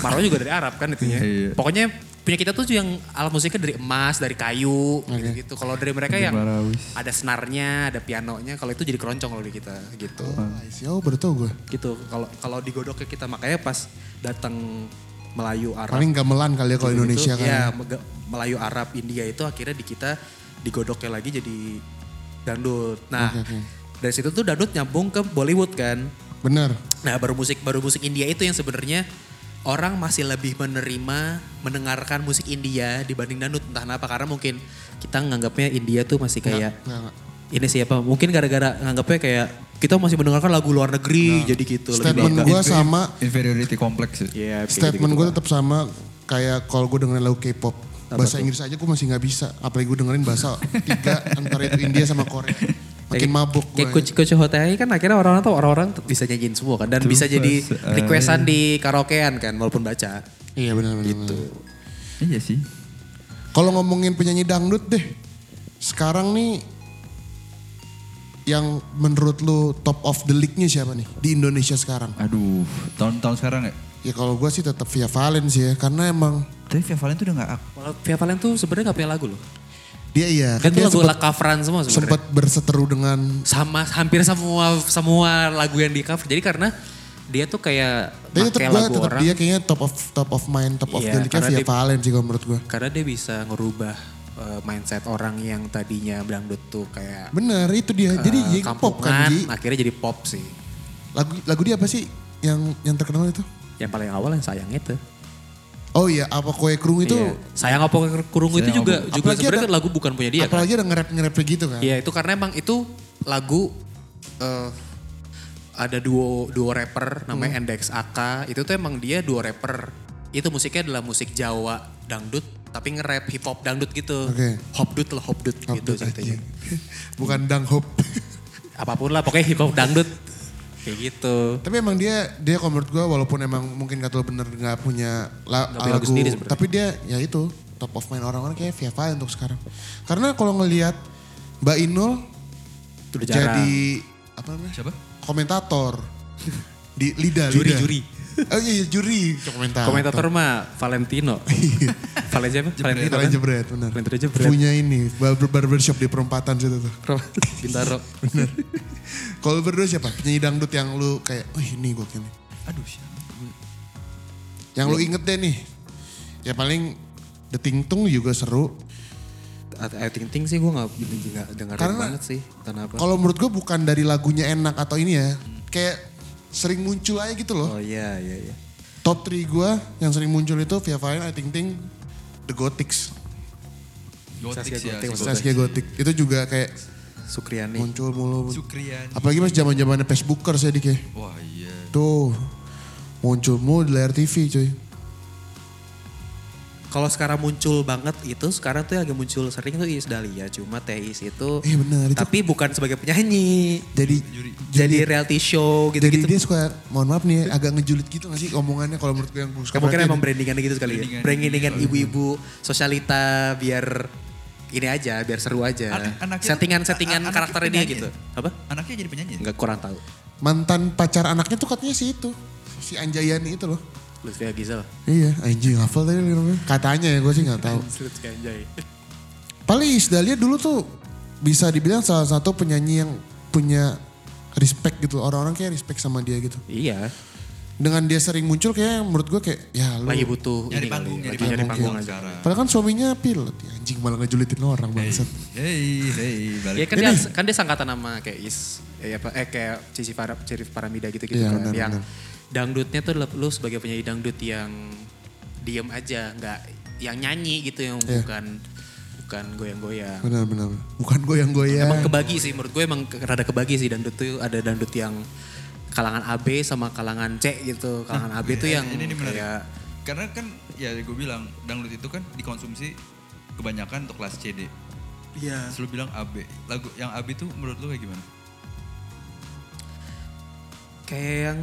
Speaker 1: Marau juga dari Arab kan itunya.
Speaker 3: Iya.
Speaker 1: Pokoknya punya kita tuh yang alat musiknya dari emas, dari kayu gitu-gitu. Kalau dari mereka yang
Speaker 3: Marawis.
Speaker 1: ada senarnya, ada pianonya, kalau itu jadi keroncong kalau di kita gitu.
Speaker 2: Oh, I see. Oh baru tau gue.
Speaker 1: Gitu. Kalau kalau digodoknya kita makanya pas datang Melayu Arab
Speaker 2: Paling gamelan kali ya kalau
Speaker 1: gitu-gitu,
Speaker 2: Indonesia kan.
Speaker 1: ya, mega- Melayu Arab India itu akhirnya di kita digodoknya lagi jadi dandut. Nah, dari situ tuh dandut nyambung ke Bollywood kan.
Speaker 2: Bener.
Speaker 1: Nah baru musik baru musik India itu yang sebenarnya orang masih lebih menerima mendengarkan musik India dibanding dangdut entah kenapa karena mungkin kita nganggapnya India tuh masih kayak
Speaker 2: Nggak, nggak.
Speaker 1: ini siapa mungkin gara-gara nganggapnya kayak kita masih mendengarkan lagu luar negeri jadi gitu bangga.
Speaker 2: Statement gue sama
Speaker 3: Inferiority complex. ya.
Speaker 1: Iya, kayak
Speaker 2: Statement
Speaker 1: gitu-gitu
Speaker 2: gue
Speaker 1: lah.
Speaker 2: tetap sama kayak kalau gue dengerin lagu K-pop. Bahasa Inggris aja gue masih nggak bisa. Apalagi gue dengerin bahasa tiga antara itu India sama Korea. Makin mabuk
Speaker 1: Kayak
Speaker 2: gue.
Speaker 1: kucu-kucu hotel kan akhirnya orang-orang tuh orang-orang tuh bisa nyanyiin semua kan dan bisa jadi
Speaker 3: bahasa-
Speaker 1: requestan di karaokean kan walaupun baca.
Speaker 2: Iya benar benar. Gitu.
Speaker 3: Iya sih.
Speaker 2: Kalau ngomongin penyanyi dangdut deh. Sekarang nih yang menurut lu top of the league-nya siapa nih di Indonesia sekarang?
Speaker 3: Aduh, tahun-tahun sekarang ya.
Speaker 2: Ya kalau gue sih tetap Via Valen sih ya karena emang
Speaker 3: Tapi Via Valen tuh udah gak aku.
Speaker 1: Walau Via Valen tuh sebenarnya gak punya lagu loh.
Speaker 2: dia iya
Speaker 1: Kan
Speaker 2: kan
Speaker 1: tuh
Speaker 2: dia
Speaker 1: lagu
Speaker 2: sempat,
Speaker 1: la coveran semua sebenarnya.
Speaker 2: sempat berseteru dengan
Speaker 1: sama hampir semua semua lagu yang di cover. Jadi karena dia tuh kayak
Speaker 2: Tapi tetap
Speaker 1: pakai
Speaker 2: gue
Speaker 1: lagu
Speaker 2: tetap
Speaker 1: orang
Speaker 2: dia kayaknya top of top of mind top of
Speaker 1: Iya,
Speaker 2: the league-nya
Speaker 1: karena
Speaker 2: Via
Speaker 1: dia-
Speaker 2: Valen sih kalau menurut gue.
Speaker 1: karena dia bisa ngerubah eh, mindset orang yang tadinya dangdut tuh kayak
Speaker 2: Bener itu dia. Jadi
Speaker 1: eh,
Speaker 2: dia pop kan Ji.
Speaker 1: akhirnya jadi pop sih.
Speaker 2: Lagu lagu dia apa sih yang yang terkenal itu?
Speaker 1: Yang paling awal yang sayang itu.
Speaker 2: Oh iya apa kue kerung itu
Speaker 1: Iya. Sayang apa kurung itu
Speaker 3: Sayang
Speaker 1: juga
Speaker 3: apa-
Speaker 1: juga
Speaker 2: Apalagi
Speaker 1: sebenarnya
Speaker 2: ada-
Speaker 1: lagu bukan punya dia kan.
Speaker 2: apalagi ada nge-rap nge-rap gitu kan.
Speaker 1: Iya, itu karena emang itu lagu eh, ada duo duo rapper
Speaker 2: Hmm.
Speaker 1: namanya Endex AK. Itu tuh emang dia duo rapper. Itu musiknya adalah musik Jawa dangdut tapi nge-rap hip hop dangdut gitu.
Speaker 2: Oke.
Speaker 1: Hopdut lah, hopdut gitu
Speaker 2: Dangdut
Speaker 1: ceritanya.
Speaker 2: aja. iya. Bukan dang hop.
Speaker 1: Apapun lah pokoknya hip hop dangdut. Kayak gitu.
Speaker 2: tapi emang dia dia kalau menurut gue walaupun emang mungkin kata lo bener nggak punya la-
Speaker 1: Nggak punya lagu
Speaker 2: lagu,
Speaker 1: sendiri sebenarnya.
Speaker 2: tapi dia ya itu top of mind orang-orang kayak Via Valen untuk sekarang. Karena kalau ngelihat Mbak Inul
Speaker 1: Itu udah jarang.
Speaker 2: jadi apa namanya?
Speaker 3: Siapa?
Speaker 2: Komentator di lidah
Speaker 1: Juri,
Speaker 2: lidah.
Speaker 1: juri.
Speaker 2: Oh iya, iya, juri komentator.
Speaker 1: Komentator mah Valentino. Valentino siapa? Valentino
Speaker 2: Kalian
Speaker 1: kan?
Speaker 2: Iya. jebret, benar.
Speaker 1: Valentino jebret.
Speaker 2: Punya ini, barber- barbershop di perempatan situ tuh.
Speaker 1: Bintaro.
Speaker 2: Benar. Kalau lu berdua siapa? Penyanyi dangdut yang lu kayak, oh ini gue kayaknya.
Speaker 3: Aduh siapa?
Speaker 2: Yang
Speaker 1: Iya.
Speaker 2: lu inget deh nih. Ya paling The Tingtung juga seru.
Speaker 1: Ayo Ting Ting sih gue gak, nggak dengerin
Speaker 2: Karena-
Speaker 1: banget sih. Tanah apa.
Speaker 2: Kalau menurut gue bukan dari lagunya enak atau ini ya. Kayak sering muncul aja gitu loh.
Speaker 1: Oh iya, iya, iya.
Speaker 2: Top 3 gue yang sering muncul itu Via Valen, I Ting Ting, The Gothics.
Speaker 1: Saskia
Speaker 3: Gotik sih ya.
Speaker 1: Gotik,
Speaker 3: si Gotik.
Speaker 2: Saskia Gothic. Itu juga kayak
Speaker 1: Sukriani.
Speaker 2: muncul mulu.
Speaker 3: Sukriani.
Speaker 2: Apalagi mas zaman zamannya Facebooker saya dike.
Speaker 3: Wah iya.
Speaker 2: Tuh muncul mulu di layar TV cuy.
Speaker 1: Kalau sekarang muncul banget itu sekarang tuh yang lagi muncul sering tuh Iis Dahlia. Cuma Teis itu.
Speaker 2: Iya benar, itu-
Speaker 1: Tapi bukan sebagai penyanyi.
Speaker 2: Jadi
Speaker 1: Jadi reality show
Speaker 2: jadi
Speaker 1: gitu-gitu.
Speaker 2: dia suka mohon maaf nih ya, agak ngejulit gitu gak sih omongannya kalau menurut gue yang gue suka.
Speaker 1: Ya, mungkin
Speaker 2: Berarti
Speaker 1: emang brandingannya gitu sekali ya.
Speaker 3: Brandingan.
Speaker 1: Brandingan ibu-ibu sosialita biar ini aja biar seru aja.
Speaker 3: An- anaknya-
Speaker 1: Settingan-settingan
Speaker 3: an- anaknya
Speaker 1: karakternya dia
Speaker 3: penyanyi
Speaker 1: gitu.
Speaker 3: ya?
Speaker 1: Apa?
Speaker 3: Anaknya jadi penyanyi.
Speaker 1: Enggak kurang tahu.
Speaker 2: mantan pacar anaknya tuh katanya si itu. Si Anjayani itu loh.
Speaker 1: Lutfi Agizal.
Speaker 2: Iya, anjing hafal tadi namanya. Katanya ya gue sih gak tahu.
Speaker 1: Lutfi Anjay.
Speaker 2: Paling Iis Dahlia dulu tuh bisa dibilang salah satu penyanyi yang punya respect gitu. Orang-orang kayak respect sama dia gitu.
Speaker 1: Iya.
Speaker 2: Dengan dia sering muncul kayak menurut gue kayak ya lu.
Speaker 1: Lagi butuh ini
Speaker 3: Nyari
Speaker 1: kali,
Speaker 3: panggung, nyari
Speaker 1: Lagi nyari
Speaker 2: panggung.
Speaker 1: panggung aja.
Speaker 3: Sekarang.
Speaker 2: Padahal kan suaminya pilot. Ya, anjing malah ngejulitin orang
Speaker 1: Iya,
Speaker 2: bangsat.
Speaker 3: Hei, hei, balik.
Speaker 1: Ya kan dia, kan dia sangkatan sama kayak Is, ya apa, eh kayak Cici Para, Cirif Paramida gitu-gitu
Speaker 2: Iya,
Speaker 1: kan.
Speaker 2: benar,
Speaker 1: yang
Speaker 2: benar.
Speaker 1: dangdutnya tuh lu- lu sebagai penyanyi dangdut yang diem aja, nggak yang nyanyi gitu yang
Speaker 2: Iya.
Speaker 1: bukan bukan goyang-goyang.
Speaker 2: Benar-benar. Bukan goyang-goyang.
Speaker 1: Emang kebagi sih menurut gue emang ke- rada kebagi sih dangdut tuh ada dangdut yang kalangan AB sama kalangan C gitu. Kalangan
Speaker 2: Iya.
Speaker 1: AB tuh yang
Speaker 3: ini nih menarik.
Speaker 1: kayak
Speaker 3: Karena kan ya gue bilang dangdut itu kan dikonsumsi kebanyakan untuk kelas CD.
Speaker 1: Iya.
Speaker 3: Terus lu bilang AB. Lagu yang AB itu menurut lu kayak gimana?
Speaker 1: kayak yang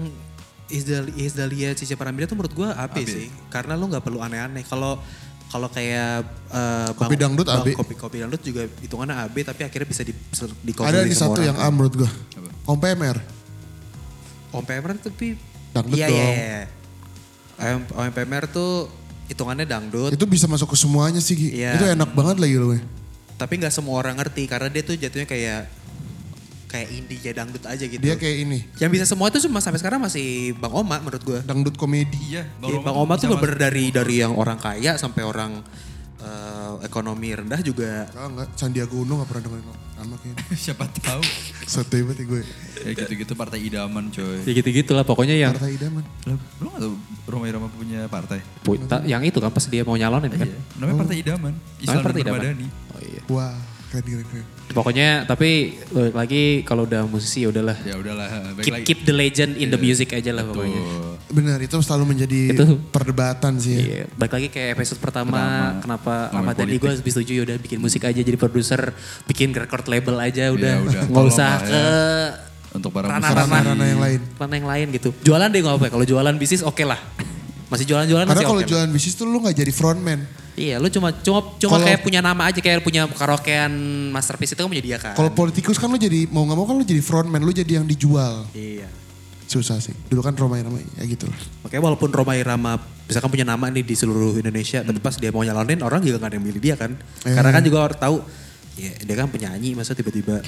Speaker 1: Isdal- Isdalia Cici Paramida tuh menurut gue AB, sih. Karena lu nggak perlu aneh-aneh. Kalau kalau kayak eh,
Speaker 2: Kopi Dangdut
Speaker 1: bang,
Speaker 2: AB.
Speaker 1: kopi kopi dangdut juga hitungannya AB tapi akhirnya bisa di
Speaker 2: Ada nih satu yang A menurut gue. Om PMR.
Speaker 1: Om PMR tapi
Speaker 2: Dangdut
Speaker 1: iya, iya,
Speaker 2: dong.
Speaker 1: iya. Om, Om PMR tuh hitungannya dangdut
Speaker 2: Itu bisa masuk ke semuanya sih Gi.
Speaker 1: Iya.
Speaker 2: Itu enak banget lagi loh. weh.
Speaker 1: tapi nggak semua orang ngerti karena dia tuh jatuhnya kayak kayak indie ya dangdut aja gitu.
Speaker 2: Dia kayak ini.
Speaker 1: yang bisa semua itu cuma sampai sekarang masih Bang Oma menurut gue.
Speaker 2: Dangdut komedi.
Speaker 3: Iya,
Speaker 1: Bang, Bang Oma tuh bener dari dari yang orang kaya sampai orang eh, ekonomi rendah juga.
Speaker 2: Enggak, enggak. Sandiaga Uno gak pernah dengerin nama kayaknya.
Speaker 3: siapa tahu.
Speaker 2: Satu hebat ya gue.
Speaker 3: ya gitu-gitu partai idaman coy.
Speaker 1: Iya.
Speaker 4: Ya gitu-gitu lah pokoknya yang
Speaker 2: Partai Idaman.
Speaker 3: Lo, lo gak tau Roma Irama punya partai?
Speaker 4: pu- ta- yang itu kan pas dia mau nyalonin kan.
Speaker 3: Iya. Namanya Partai
Speaker 1: Oh.
Speaker 3: Idaman. Islam
Speaker 4: Partai
Speaker 3: Partai
Speaker 4: Idaman.
Speaker 3: Madani.
Speaker 4: Oh iya.
Speaker 2: Wah keren keren keren.
Speaker 4: Pokoknya tapi balik lagi kalau udah musisi ya udahlah.
Speaker 3: Ya udahlah, baik
Speaker 4: Keep,
Speaker 3: lagi. Iya.
Speaker 4: keep the legend in the music aja lah pokoknya.
Speaker 3: Tuh.
Speaker 2: Benar itu selalu menjadi
Speaker 4: Itu.
Speaker 2: perdebatan sih ya.
Speaker 4: Iya, balik lagi kayak episode pertama,
Speaker 3: Pertama,
Speaker 4: kenapa
Speaker 3: ngomongin
Speaker 4: Ahmad Dhani
Speaker 3: politik.
Speaker 4: gue lebih setuju yaudah bikin musik aja jadi produser, bikin record label aja udah,
Speaker 3: Iya, udah.
Speaker 4: nggak usah
Speaker 3: Tolong
Speaker 4: ke
Speaker 3: lah ya. Untuk para
Speaker 4: ranah-ranah
Speaker 3: musisi.
Speaker 2: Ranah-ranah yang lain.
Speaker 4: ranah yang lain gitu. Jualan deh nggak apa-apa, kalau jualan bisnis oke lah, masih jualan-jualan
Speaker 2: Karena
Speaker 4: masih
Speaker 2: kalau
Speaker 4: oke. lah.
Speaker 2: jualan bisnis tuh lu gak jadi frontman.
Speaker 4: Iya, lu cuma cuma cuma
Speaker 2: Kalau-
Speaker 4: kayak punya nama aja kayak punya karaokean masterpiece itu kan menyediakan.
Speaker 2: Kalau politikus kan lu jadi mau gak mau kan lu jadi frontman. Lu jadi yang dijual.
Speaker 1: Iya.
Speaker 2: Susah sih. Dulu kan Roma Irama ya gitu lah.
Speaker 1: Makanya walaupun Roma Irama misalkan punya nama nih di seluruh Indonesia,
Speaker 2: Hmm.
Speaker 1: tapi pas dia mau nyalonin orang juga gak ada yang milih dia kan.
Speaker 2: Eh.
Speaker 1: Karena kan juga orang tahu ya, dia kan penyanyi masa tiba-tiba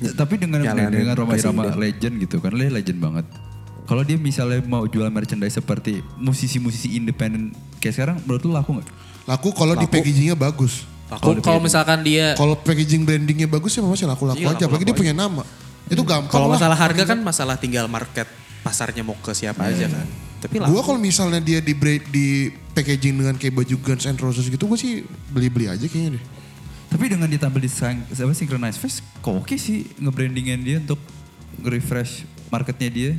Speaker 3: Ya, tapi dengan
Speaker 1: Jalanin,
Speaker 3: dengan Roma
Speaker 1: kasih ide.
Speaker 3: Irama legend gitu kan, dia legend banget. Kalau dia misalnya mau jual merchandise seperti musisi-musisi independen kayak sekarang, menurut lu laku nggak?
Speaker 2: Laku kalau di packagingnya bagus.
Speaker 4: Kalau- kalau misalkan dia
Speaker 2: Kalau packaging brandingnya bagus ya masih laku-laku
Speaker 1: Iya,
Speaker 2: aja. Apalagi dia punya nama. Itu gampang
Speaker 1: Kalau
Speaker 2: lah.
Speaker 1: masalah harga kan masalah tinggal market pasarnya mau ke siapa aja kan. Tapi lah
Speaker 2: Gue Hmm. kalau misalnya dia di bra- di packaging dengan kayak baju Guns N' Roses gitu, gue sih beli-beli aja kayaknya deh.
Speaker 3: Tapi dengan ditampil di sang, apa, Synchronize Fest, kok oke sih nge-brandingan dia untuk refresh marketnya dia.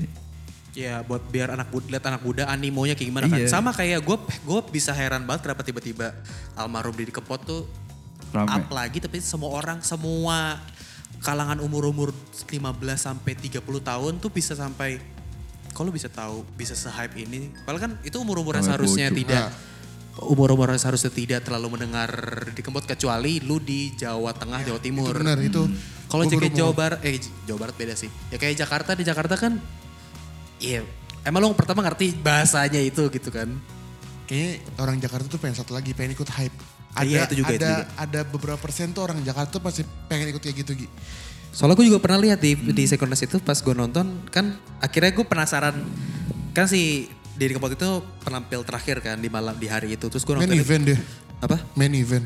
Speaker 1: ya buat biar anak muda lihat anak muda animonya kayak gimana
Speaker 3: Iya.
Speaker 1: kan. Sama kayak gue gue bisa heran banget kenapa tiba-tiba almarhum Didi Kempot tuh
Speaker 3: Rame.
Speaker 1: up lagi tapi semua orang semua kalangan umur-umur 15 sampai 30 tahun tuh bisa sampai kalau bisa tahu bisa se-hype ini. Padahal kan itu umur-umur yang
Speaker 3: Sampai
Speaker 1: seharusnya
Speaker 3: bocor.
Speaker 1: tidak umur-umur yang seharusnya tidak terlalu mendengar Didi Kempot kecuali lu di Jawa Tengah, Jawa Timur.
Speaker 2: Bener itu.
Speaker 1: Hmm. Kalau
Speaker 2: Gua baru
Speaker 1: JK
Speaker 2: mau-
Speaker 1: Jawa Barat, eh J- Jawa Barat beda sih. Ya kayak Jakarta, di Jakarta kan, iya emang lo pertama ngerti bahasanya itu gitu kan.
Speaker 2: Kayaknya orang Jakarta tuh pengen satu lagi, pengen ikut hype. Ada,
Speaker 1: Iya, itu juga,
Speaker 2: ada,
Speaker 1: itu juga.
Speaker 2: ada beberapa persen tuh orang Jakarta tuh pasti pengen ikut kayak gitu. Gi.
Speaker 1: Soalnya gue juga pernah lihat di di Synchronize itu pas gue nonton kan akhirnya gue penasaran kan si Didi Kempot itu penampil terakhir kan di malam di hari itu terus gue
Speaker 2: Main
Speaker 1: nonton
Speaker 2: event deh,
Speaker 1: apa
Speaker 2: main event.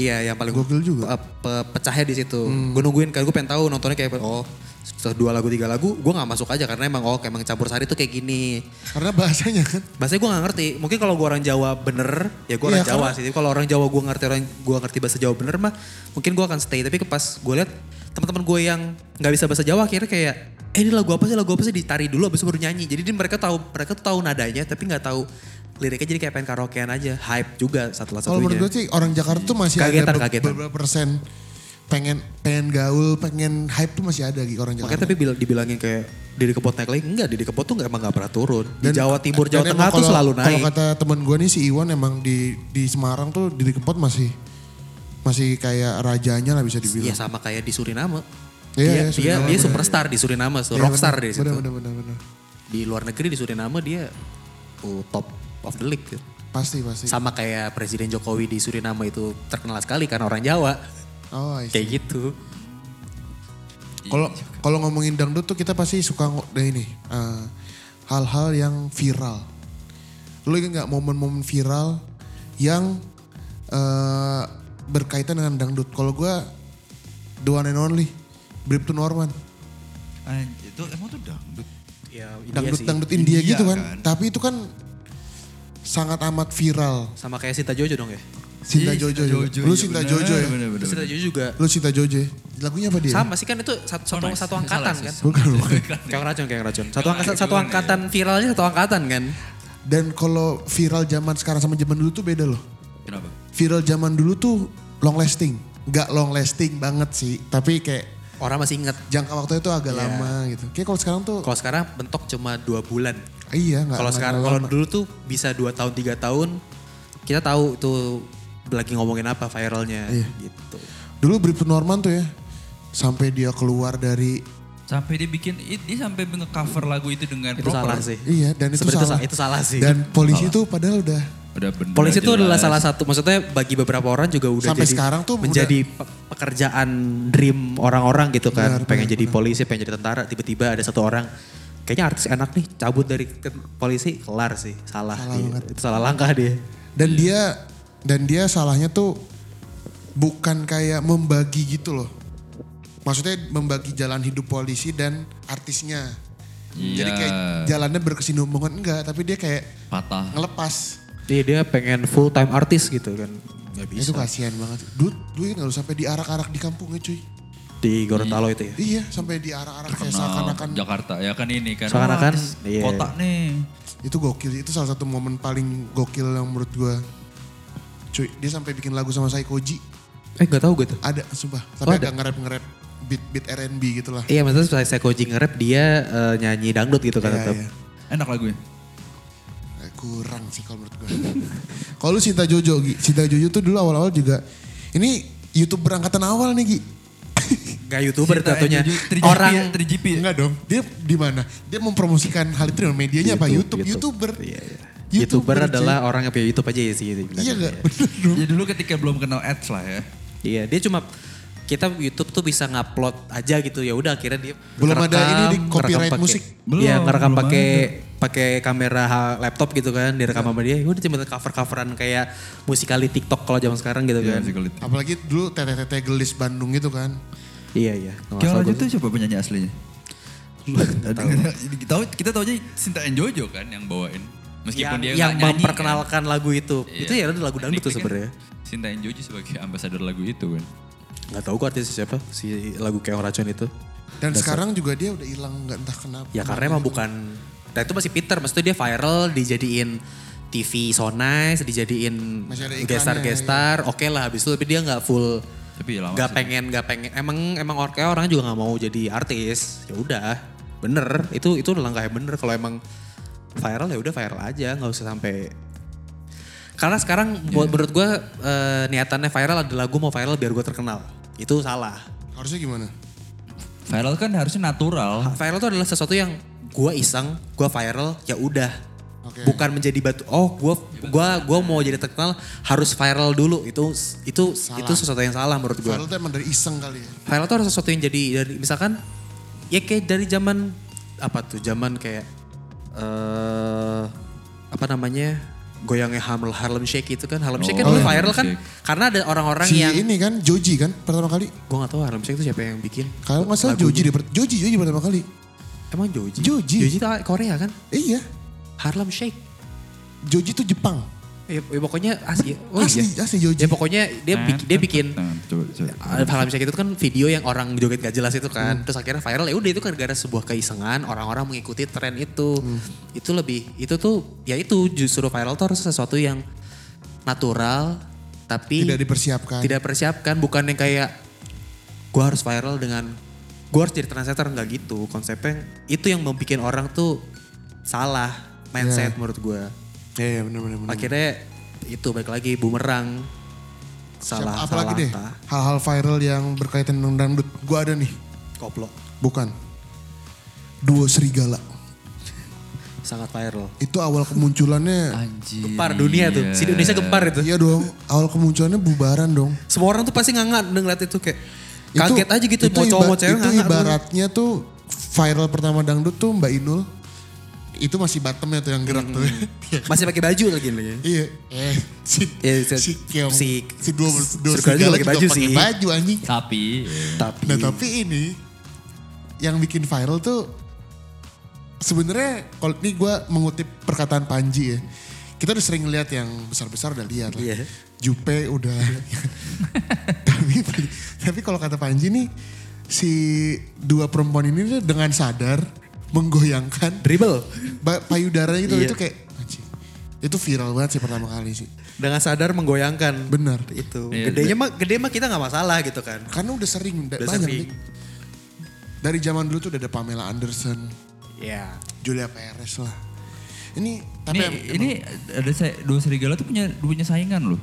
Speaker 1: Iya yang paling
Speaker 2: Gokil juga. Hmm.
Speaker 1: pe- pe- pecahnya di situ. Gue nungguin kan gue pengen tahu nontonnya kayak apa. oh setelah dua lagu tiga lagu gue nggak masuk aja karena emang oh emang campur sari itu kayak gini.
Speaker 2: Karena bahasanya kan.
Speaker 1: Bahasanya gue gak ngerti. Mungkin kalau gue orang Jawa bener, ya gue orang
Speaker 2: Iya,
Speaker 1: Jawa
Speaker 2: karena-
Speaker 1: sih. Tapi kalau orang Jawa gue ngerti orang gue ngerti bahasa Jawa bener mah, mungkin gue akan stay. Tapi pas gue lihat teman-teman gue yang nggak bisa bahasa Jawa akhirnya kayak, eh ini lagu apa sih? Lagu apa sih? Ditari dulu, abis itu baru nyanyi. Jadi dia- mereka tahu mereka tuh tahu nadanya, tapi nggak tahu liriknya. Jadi kayak pengen karaokean aja, hype juga satu
Speaker 2: Kalau menurut gue
Speaker 1: satunya.
Speaker 2: sih orang Jakarta tuh masih
Speaker 1: Kagetan,
Speaker 2: ada be-
Speaker 1: kagetan.
Speaker 2: beberapa persen pengen pengen gaul, pengen hype tuh masih ada Gi, orang Jakarta.
Speaker 1: Makanya tapi bila- dibilangin kayak Didi Kempot naik lagi, enggak Didi Kempot tuh nggak- emang gak pernah turun. Di Jawa Timur,
Speaker 2: dan
Speaker 1: Jawa
Speaker 2: emang
Speaker 1: Tengah tuh
Speaker 2: kalau-
Speaker 1: selalu
Speaker 2: Kalau
Speaker 1: naik.
Speaker 2: kata temen gue nih si Iwan emang di di Semarang tuh Didi Kempot masih masih kayak rajanya lah bisa
Speaker 1: Iya
Speaker 2: dibilang.
Speaker 1: sama kayak di Suriname.
Speaker 2: Gitu. Iya,
Speaker 1: dia,
Speaker 2: iya,
Speaker 1: dia-
Speaker 2: Suriname,
Speaker 1: dia
Speaker 2: bener.
Speaker 1: superstar di Suriname,
Speaker 2: Iya,
Speaker 1: rockstar
Speaker 2: bener,
Speaker 1: di situ.
Speaker 2: Bener, bener, bener, bener.
Speaker 1: Di luar negeri di Suriname dia oh, top of the league. gitu.
Speaker 2: Pasti, pasti.
Speaker 1: Sama kayak Presiden Jokowi di Suriname itu terkenal sekali karena orang Jawa.
Speaker 2: Oh, I see.
Speaker 1: Kayak gitu.
Speaker 2: Kalau kalau ngomongin dangdut tuh kita pasti suka ngo- nah ini eh, hal-hal yang viral. Lu ingat nggak momen-momen viral yang eh, berkaitan dengan dangdut? Kalau gue the one and only Bripto Norman.
Speaker 3: Anjir, itu emang tuh dangdut.
Speaker 1: Ya, India
Speaker 2: dangdut
Speaker 1: sih.
Speaker 2: dangdut India
Speaker 3: India
Speaker 2: gitu kan.
Speaker 3: kan.
Speaker 2: Tapi itu kan sangat amat viral.
Speaker 1: Sama kayak Sita Jojo dong ya.
Speaker 2: Sinta
Speaker 3: Ih,
Speaker 2: Jojo. juga.
Speaker 3: Jojo,
Speaker 2: Lu
Speaker 3: iya
Speaker 2: Sinta
Speaker 3: bener,
Speaker 2: Jojo ya.
Speaker 3: Bener, bener,
Speaker 1: Sita
Speaker 3: bener.
Speaker 1: Jojo juga
Speaker 2: Lu Sinta Jojo ya. Lagunya apa dia?
Speaker 1: sama sih kan itu satu satu,
Speaker 3: Sunrise.
Speaker 1: satu angkatan
Speaker 3: Sunrise.
Speaker 1: kan.
Speaker 2: Bukan, bukan.
Speaker 1: Kayak racun, kayak iya. racun. Satu angkatan,
Speaker 3: Kayak
Speaker 1: satu
Speaker 3: racun,
Speaker 1: angkatan viralnya satu angkatan kan.
Speaker 2: Dan kalau viral zaman sekarang sama zaman dulu tuh beda loh.
Speaker 3: Kenapa?
Speaker 2: Viral zaman dulu tuh long lasting. Gak long lasting banget sih. Tapi kayak
Speaker 1: orang masih inget.
Speaker 2: Jangka waktunya tuh agak lama gitu. Kayak kalau sekarang tuh
Speaker 1: Iya. Kalau sekarang mentok cuma dua bulan.
Speaker 2: iya nggak.
Speaker 1: Kalau
Speaker 2: nggak
Speaker 1: sekarang,
Speaker 2: terlalu
Speaker 1: kalau
Speaker 2: lama.
Speaker 1: dulu tuh bisa dua tahun, tiga tahun. Kita tahu tuh lagi ngomongin apa viralnya
Speaker 2: Iya.
Speaker 1: gitu.
Speaker 2: dulu Bripto Norman tuh ya sampai dia keluar dari
Speaker 3: Sampai dia bikin, dia sampai nge-cover lagu itu dengan
Speaker 1: Itu salah sih.
Speaker 2: iya dan itu
Speaker 1: Sebenarnya
Speaker 2: salah.
Speaker 1: itu salah sih.
Speaker 2: Dan polisi itu padahal udah
Speaker 3: Udah bener
Speaker 1: Polisi itu
Speaker 3: jelas.
Speaker 1: adalah salah satu, maksudnya bagi beberapa orang juga udah
Speaker 2: Sampai
Speaker 1: jadi-
Speaker 2: sekarang tuh
Speaker 1: menjadi pe- pekerjaan dream orang-orang gitu kan.
Speaker 2: Benar,
Speaker 1: pengen
Speaker 2: benar,
Speaker 1: jadi polisi, pengen jadi tentara, tiba-tiba ada satu orang kayaknya artis enak nih cabut dari ke- polisi kelar sih salah,
Speaker 2: Salah
Speaker 1: dia.
Speaker 2: banget.
Speaker 1: itu salah langkah dia
Speaker 2: dan
Speaker 1: Iya.
Speaker 2: dia dan dia salahnya tuh bukan kayak membagi gitu loh. Maksudnya membagi jalan hidup polisi dan artisnya. Jadi
Speaker 3: Iya.
Speaker 2: kayak jalannya berkesinambungan enggak, tapi dia kayak
Speaker 3: Patah.
Speaker 2: ngelepas.
Speaker 1: iya dia pengen full time artis gitu kan nggak bisa
Speaker 2: Itu kasihan banget. Duit, duit nggak lu sampai diarak-arak di kampungnya cuy.
Speaker 1: di Gorontalo itu ya
Speaker 2: Iya, sampai diarak-arak kayak
Speaker 3: Nah,
Speaker 2: seakan-akan
Speaker 3: Jakarta ya kan ini kan.
Speaker 1: Seakan-akan,
Speaker 3: artis
Speaker 1: iya.
Speaker 3: Kota nih.
Speaker 2: itu gokil itu salah satu momen paling gokil yang menurut gua cuy dia sampai bikin lagu sama Saikoji
Speaker 1: eh nggak tahu gue tuh
Speaker 2: ada sumpah tapi
Speaker 1: Oh, ada.
Speaker 2: ada ngerap ngerap beat beat R&B gitulah
Speaker 1: iya maksudnya setelah saya coaching rap dia eh, nyanyi dangdut gitu kan
Speaker 2: Iya,
Speaker 1: tetap
Speaker 2: iya.
Speaker 3: Enak ya. lagunya.
Speaker 2: Eh, kurang sih kalau menurut gua kalau lu Cinta Jojo Gi Cinta Jojo tuh dulu awal-awal juga ini YouTube berangkatan awal nih Gi
Speaker 1: nggak youtuber
Speaker 2: Iya,
Speaker 3: Cinta
Speaker 1: tentunya
Speaker 3: NJJ, 3GP,
Speaker 1: orang
Speaker 3: ya, 3GP.
Speaker 2: enggak dong dia di mana dia mempromosikan hal itu dengan medianya apa YouTube YouTuber
Speaker 1: Iya, iya. YouTuber,
Speaker 2: cuy.
Speaker 1: adalah orang yang punya YouTube aja ya sih. gitu.
Speaker 2: iya enggak
Speaker 1: Iya.
Speaker 2: bener dong
Speaker 3: Ya dulu ketika belum kenal ads lah ya.
Speaker 1: Iya, dia cuma kita YouTube tuh bisa ngupload aja gitu ya udah akhirnya dia
Speaker 2: Belum ada ini di
Speaker 1: ngerekam
Speaker 2: copyright
Speaker 1: pakai-
Speaker 2: musik.
Speaker 3: Belum,
Speaker 1: Iya, ngerekam
Speaker 3: belum
Speaker 1: pakai pakai kamera ha- laptop gitu kan, direkam
Speaker 2: Iya.
Speaker 1: sama dia. Udah cuma cover-coveran kayak musikali TikTok kalau zaman sekarang gitu kan.
Speaker 3: Iya, sih, kalau itu.
Speaker 2: apalagi dulu teteh-teteh gelis Bandung gitu kan
Speaker 1: Iya, iya. Nggak
Speaker 3: Kiara
Speaker 1: masalah
Speaker 3: Raja
Speaker 1: gua. gitu.
Speaker 3: tuh siapa penyanyi aslinya? Kita tahu kita tahu aja Sinta and Jojo kan yang bawain.
Speaker 1: yang,
Speaker 3: Meskipun dia
Speaker 1: yang
Speaker 3: nggak nyanyi,
Speaker 1: memperkenalkan lagu itu.
Speaker 3: kan.
Speaker 1: Itu ya lagu dangdut
Speaker 3: Tapi
Speaker 1: tuh
Speaker 3: kan
Speaker 1: sebenarnya.
Speaker 3: Sinta and Jojo sebagai ambasador lagu itu kan.
Speaker 1: Gak tau gue artisnya siapa si lagu Keong Racun itu.
Speaker 2: Dan sekarang juga dia udah hilang nggak entah kenapa.
Speaker 1: Ya karena
Speaker 2: Gitu.
Speaker 1: emang bukan, dan itu masih Peter, maksudnya dia viral dijadiin TV so nice, dijadiin
Speaker 2: Masih ada iklannya, iya.
Speaker 1: gestar gestar, oke lah habis itu tapi dia nggak full,
Speaker 3: Tapi ya lama
Speaker 1: nggak
Speaker 3: sih.
Speaker 1: pengen nggak pengen, emang emang orang kayak orang juga nggak mau jadi artis, ya udah, bener, itu itu langkah yang bener kalau emang viral ya udah viral aja, nggak usah sampai karena sekarang buat
Speaker 2: Iya.
Speaker 1: menurut gue eh, niatannya viral adalah gue mau viral biar gue terkenal, itu salah.
Speaker 2: Harusnya gimana?
Speaker 3: Viral kan harusnya natural.
Speaker 1: viral itu adalah sesuatu yang gua iseng, gua viral, ya udah.
Speaker 2: Oke.
Speaker 1: Bukan menjadi batu. Oh, gua gua gua mau jadi terkenal harus viral dulu. Itu itu itu sesuatu yang salah menurut gua.
Speaker 2: Viral tuh emang dari iseng kali ya.
Speaker 1: Viral itu harus sesuatu yang jadi dari misalkan ya kayak dari zaman apa tuh? Zaman kayak eh apa namanya? Goyangnya Harlem, Harlem Shake itu kan. Harlem Shake kan
Speaker 3: Oh,
Speaker 1: dulu
Speaker 3: iya,
Speaker 1: viral kan
Speaker 3: Shake.
Speaker 1: karena ada orang-orang
Speaker 2: Si
Speaker 1: yang
Speaker 2: ini kan Joji kan pertama kali.
Speaker 1: gua gak tahu Harlem Shake itu siapa yang bikin.
Speaker 2: Kalau nggak salah Joji dia per- Joji Joji pertama kali.
Speaker 1: Emang Joji?
Speaker 2: Joji.
Speaker 1: Joji itu Korea kan?
Speaker 2: Iya.
Speaker 1: Harlem Shake.
Speaker 2: Joji tuh Jepang.
Speaker 1: Ya, ya pokoknya asli.
Speaker 2: Asli, asli Joji.
Speaker 1: Ya pokoknya dia bikin dia bikin
Speaker 3: Nah, coba, coba.
Speaker 1: Hal misalnya itu kan video yang orang joget gak jelas itu kan.
Speaker 2: Hmm.
Speaker 1: Terus akhirnya viral ya udah itu kan gara sebuah keisengan orang-orang mengikuti tren itu.
Speaker 2: Hmm.
Speaker 1: Itu lebih itu tuh ya itu justru viral tuh harus sesuatu yang natural tapi
Speaker 2: Tidak dipersiapkan.
Speaker 1: tidak persiapkan bukan yang kayak gua harus viral dengan gua harus jadi trendsetter nggak gitu konsepnya itu yang membuat orang tuh salah
Speaker 2: Ya.
Speaker 1: mindset menurut gua
Speaker 2: Iya iya benar benar benar.
Speaker 1: Hmm. akhirnya itu balik lagi bumerang salah
Speaker 2: Siapa-
Speaker 1: salah
Speaker 2: apalagi deh
Speaker 1: langkah.
Speaker 2: hal-hal viral yang berkaitan dengan dangdut. Gua ada nih.
Speaker 1: koplok
Speaker 2: Bukan. Duo Serigala.
Speaker 1: sangat viral
Speaker 2: Itu awal
Speaker 1: Ah,
Speaker 2: kemunculannya.
Speaker 3: Anjir.
Speaker 1: gempar dunia tuh si Indonesia gempar itu
Speaker 2: iya dong. Awal kemunculannya bubaran dong.
Speaker 1: semua orang tuh pasti nganga ngeliat itu kayak
Speaker 2: Itu-
Speaker 1: kaget aja gitu
Speaker 2: itu
Speaker 1: mau cowok
Speaker 2: iba-
Speaker 1: mau cewek
Speaker 2: itu
Speaker 1: nganga
Speaker 2: ibaratnya tuh viral pertama dangdut tuh Mbak Inul itu masih bottomnya tuh yang gerak tuh
Speaker 1: masih pakai baju lagi nih
Speaker 2: iya eh si
Speaker 1: Iya,
Speaker 2: si,
Speaker 1: si-
Speaker 2: si Keong si,
Speaker 1: si-
Speaker 2: dua dua
Speaker 1: Serigala
Speaker 2: serigala
Speaker 1: juga pakai
Speaker 2: juga
Speaker 1: baju
Speaker 2: pakai
Speaker 1: sih.
Speaker 2: baju anjing
Speaker 3: Tapi ya.
Speaker 1: tapi
Speaker 2: nah tapi ini yang bikin viral tuh sebenarnya kalau ini gue mengutip perkataan Panji ya kita udah sering lihat yang besar-besar udah lihat lah.
Speaker 1: Iya.
Speaker 2: Jupe udah. tapi tapi kalau kata Panji nih si dua perempuan ini tuh dengan sadar menggoyangkan
Speaker 1: dribble
Speaker 2: ba- payudaranya itu
Speaker 1: Iya.
Speaker 2: itu kayak anjing. Itu viral banget sih pertama kali sih.
Speaker 1: dengan sadar menggoyangkan
Speaker 2: Benar.
Speaker 1: itu
Speaker 3: Iya,
Speaker 1: gedenya mah gede mah kita nggak masalah gitu kan
Speaker 2: Karena udah sering, udah
Speaker 1: Udah
Speaker 2: banyak.
Speaker 1: sering.
Speaker 2: Dik. Dari zaman dulu tuh udah ada Pamela Anderson,
Speaker 5: Iya.
Speaker 2: Julia Perez lah. Ini tapi
Speaker 3: Ini,
Speaker 2: em-
Speaker 3: ini ada saya, dua serigala tuh punya punya saingan loh.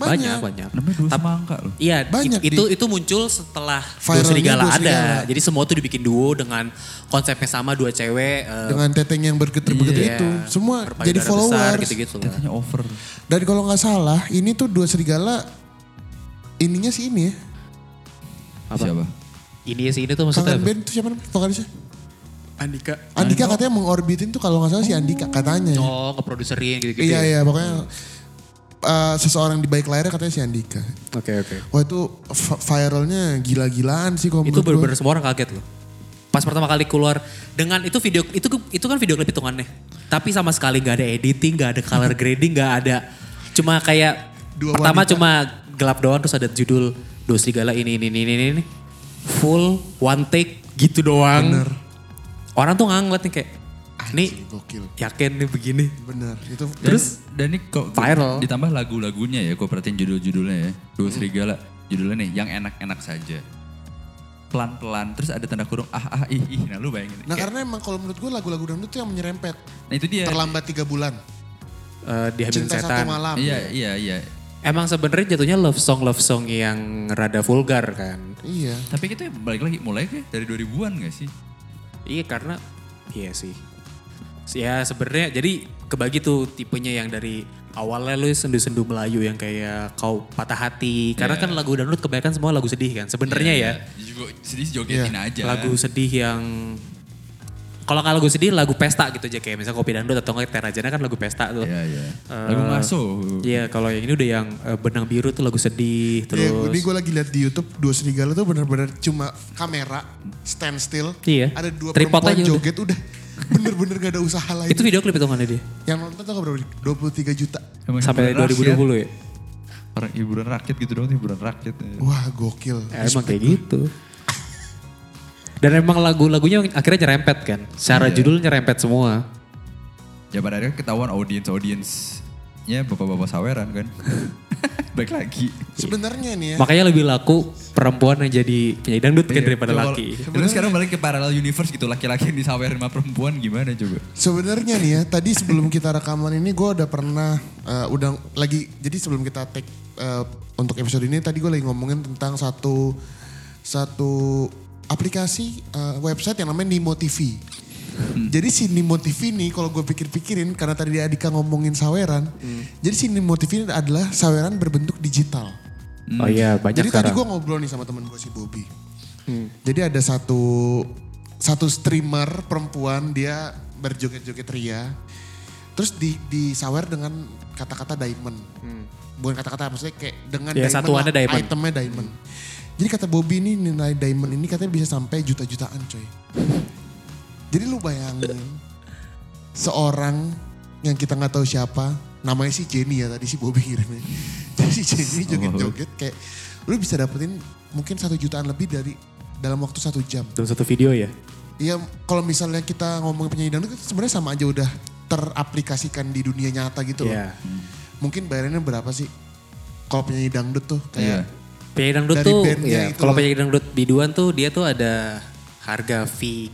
Speaker 1: Banyak,
Speaker 2: banyak.
Speaker 1: banyak.
Speaker 3: Namanya dua semangka loh.
Speaker 1: Iya,
Speaker 2: Banyak
Speaker 1: it- itu itu muncul setelah dua
Speaker 2: Viralnya
Speaker 1: serigala
Speaker 2: Dua
Speaker 1: ada.
Speaker 2: Serigala.
Speaker 1: Jadi semua tuh dibikin duo dengan konsepnya sama dua cewek eh,
Speaker 2: Dengan teteng yang bergetar-getar
Speaker 1: iya,
Speaker 2: itu, semua
Speaker 1: berpayudara
Speaker 2: jadi
Speaker 1: besar,
Speaker 2: followers.
Speaker 1: gitu-gitu. lah.
Speaker 3: Katanya over.
Speaker 2: Dan kalau nggak salah, ini tuh dua serigala ininya sih ini ya.
Speaker 1: Apa?
Speaker 3: Siapa?
Speaker 1: Ini sih ini tuh maksudnya
Speaker 2: Kangen
Speaker 1: apa?
Speaker 2: band tuh siapa namanya? Vokalisnya?
Speaker 5: Andika.
Speaker 2: Andika katanya mengorbitin tuh kalau nggak salah si Andika katanya. ya.
Speaker 1: Oh, ngeproduserin gitu-gitu. ya?
Speaker 2: iya iya pokoknya eh, seseorang di baik layarnya katanya si Andika.
Speaker 5: Oke oke.
Speaker 2: Wah itu v- viralnya gila-gilaan sih kalau
Speaker 1: Itu
Speaker 2: menurut
Speaker 1: bener-bener semua orang kaget loh. Pas pertama kali keluar dengan itu video itu itu kan video klip hitungannya. Tapi sama sekali nggak ada editing, nggak ada color grading, nggak ada cuma kayak
Speaker 2: Dua
Speaker 1: pertama
Speaker 2: wanita.
Speaker 1: cuma gelap doang terus ada judul Dos Serigala ini ini ini ini ini. Full one take gitu doang.
Speaker 2: Bener.
Speaker 1: Orang tuh nggak ngeliat nih kayak ah, nih
Speaker 2: Anjing, gokil.
Speaker 1: yakin nih begini.
Speaker 2: Bener itu
Speaker 3: Terus dan ini kok
Speaker 1: Viral. Hmm.
Speaker 3: ditambah lagu-lagunya ya, gue perhatiin judul-judulnya ya. Dua serigala, judulnya nih yang enak-enak saja. Pelan-pelan, terus ada tanda kurung ah ah ih ih. Nah lu bayangin.
Speaker 2: Nah
Speaker 3: Kayak-
Speaker 2: karena emang kalau menurut gue lagu-lagu dangdut tuh yang menyerempet.
Speaker 3: nah itu
Speaker 1: Iya.
Speaker 3: dia.
Speaker 2: Terlambat tiga bulan.
Speaker 1: Eh, di Hamil
Speaker 2: Cinta
Speaker 1: setan.
Speaker 2: satu malam.
Speaker 3: Iya, iya, iya.
Speaker 1: Emang sebenarnya jatuhnya love song love song yang rada vulgar kan.
Speaker 2: Iya.
Speaker 3: Tapi kita balik lagi mulai kayak dari 2000-an gak sih?
Speaker 1: Iya karena iya sih. Ya sebenarnya jadi kebagi tuh tipenya yang dari awalnya lu sendu-sendu Melayu yang kayak kau patah hati. Karena
Speaker 3: Iya.
Speaker 1: kan lagu dangdut kebanyakan semua lagu sedih kan. Sebenarnya
Speaker 3: Iya,
Speaker 1: ya Iya,
Speaker 3: iya. Juga sedih jogetin aja.
Speaker 1: lagu sedih yang kalau nggak lagu sedih lagu pesta gitu aja kayak misalnya kopi dangdut atau nggak terajana kan lagu pesta tuh.
Speaker 3: Iya, iya.
Speaker 1: Eh,
Speaker 3: Lagu ngaso.
Speaker 1: Iya kalau yang ini udah yang eh, benang biru tuh lagu sedih
Speaker 2: Iya,
Speaker 1: terus.
Speaker 2: ini gue lagi lihat di YouTube dua serigala tuh benar-benar cuma kamera standstill.
Speaker 1: Iya.
Speaker 2: Ada dua
Speaker 1: Tripod
Speaker 2: perempuan
Speaker 1: aja udah.
Speaker 2: joget udah. Bener-bener gak ada usaha lain.
Speaker 1: Itu video klip hitungannya dia.
Speaker 2: Yang nonton tuh berapa? 23 juta.
Speaker 3: Emang
Speaker 1: Sampai
Speaker 3: hiburan rakyat.
Speaker 1: 2020 ya.
Speaker 3: Orang hiburan rakyat gitu dong, hiburan rakyat.
Speaker 2: Wah gokil.
Speaker 1: Ya, emang kayak gitu. Dan emang lagu-lagunya akhirnya nyerempet kan.
Speaker 2: Iya.
Speaker 1: Secara judul nyerempet semua.
Speaker 3: Ya pada akhirnya ketahuan audiens-audiensnya bapak-bapak saweran kan. Baik lagi.
Speaker 2: Sebenarnya nih ya.
Speaker 1: Makanya lebih laku perempuan yang jadi penyanyi dangdut
Speaker 2: Iya,
Speaker 1: kan daripada
Speaker 3: Coba-
Speaker 1: laki.
Speaker 3: Terus Iya. sekarang balik ke paralel universe gitu, laki-laki yang disawerin sama perempuan gimana coba?
Speaker 2: Sebenarnya nih ya, tadi sebelum kita rekaman ini gue udah pernah eh, udah lagi jadi sebelum kita take eh, untuk episode ini tadi gue lagi ngomongin tentang satu satu aplikasi eh, website yang namanya Nimo TV. Jadi si Nimo TV ini kalau gue pikir-pikirin karena tadi Adika ngomongin saweran. Jadi si Nimo TV ini adalah saweran berbentuk digital.
Speaker 1: Oh iya banyak
Speaker 2: Hmm. Jadi tadi
Speaker 1: sekarang. Hmm.
Speaker 2: gue ngobrol nih sama temen gue si Bobby. Jadi ada satu satu streamer perempuan dia berjoget-joget ria. Terus di disawer dengan kata-kata diamond. Bukan kata-kata maksudnya kayak dengan
Speaker 1: Hmm. Ya, satuannya
Speaker 2: lah,
Speaker 1: diamond.
Speaker 2: itemnya diamond. Jadi kata Bobby ini nilai diamond ini katanya bisa sampai juta-jutaan coy. Jadi lu bayangin seorang yang kita nggak tahu siapa, namanya si Jenny ya tadi si Bobby kirimnya. Jadi si Jenny joget-joget kayak lu bisa dapetin mungkin satu jutaan lebih dari dalam waktu satu jam.
Speaker 1: Dalam satu video ya.
Speaker 2: Iya kalau misalnya kita ngomong penyanyi dangdut itu sebenarnya sama aja udah teraplikasikan di dunia nyata gitu loh.
Speaker 1: Iya.
Speaker 2: Mungkin bayarannya berapa sih? Kalau penyanyi dangdut tuh
Speaker 3: Iya.
Speaker 2: kayak
Speaker 1: Penyanyi dangdut
Speaker 2: Dari
Speaker 1: tuh.
Speaker 2: bandnya
Speaker 1: ya,
Speaker 2: itu
Speaker 1: Kalau
Speaker 2: loh.
Speaker 1: penyanyi dangdut biduan tuh dia tuh ada harga fee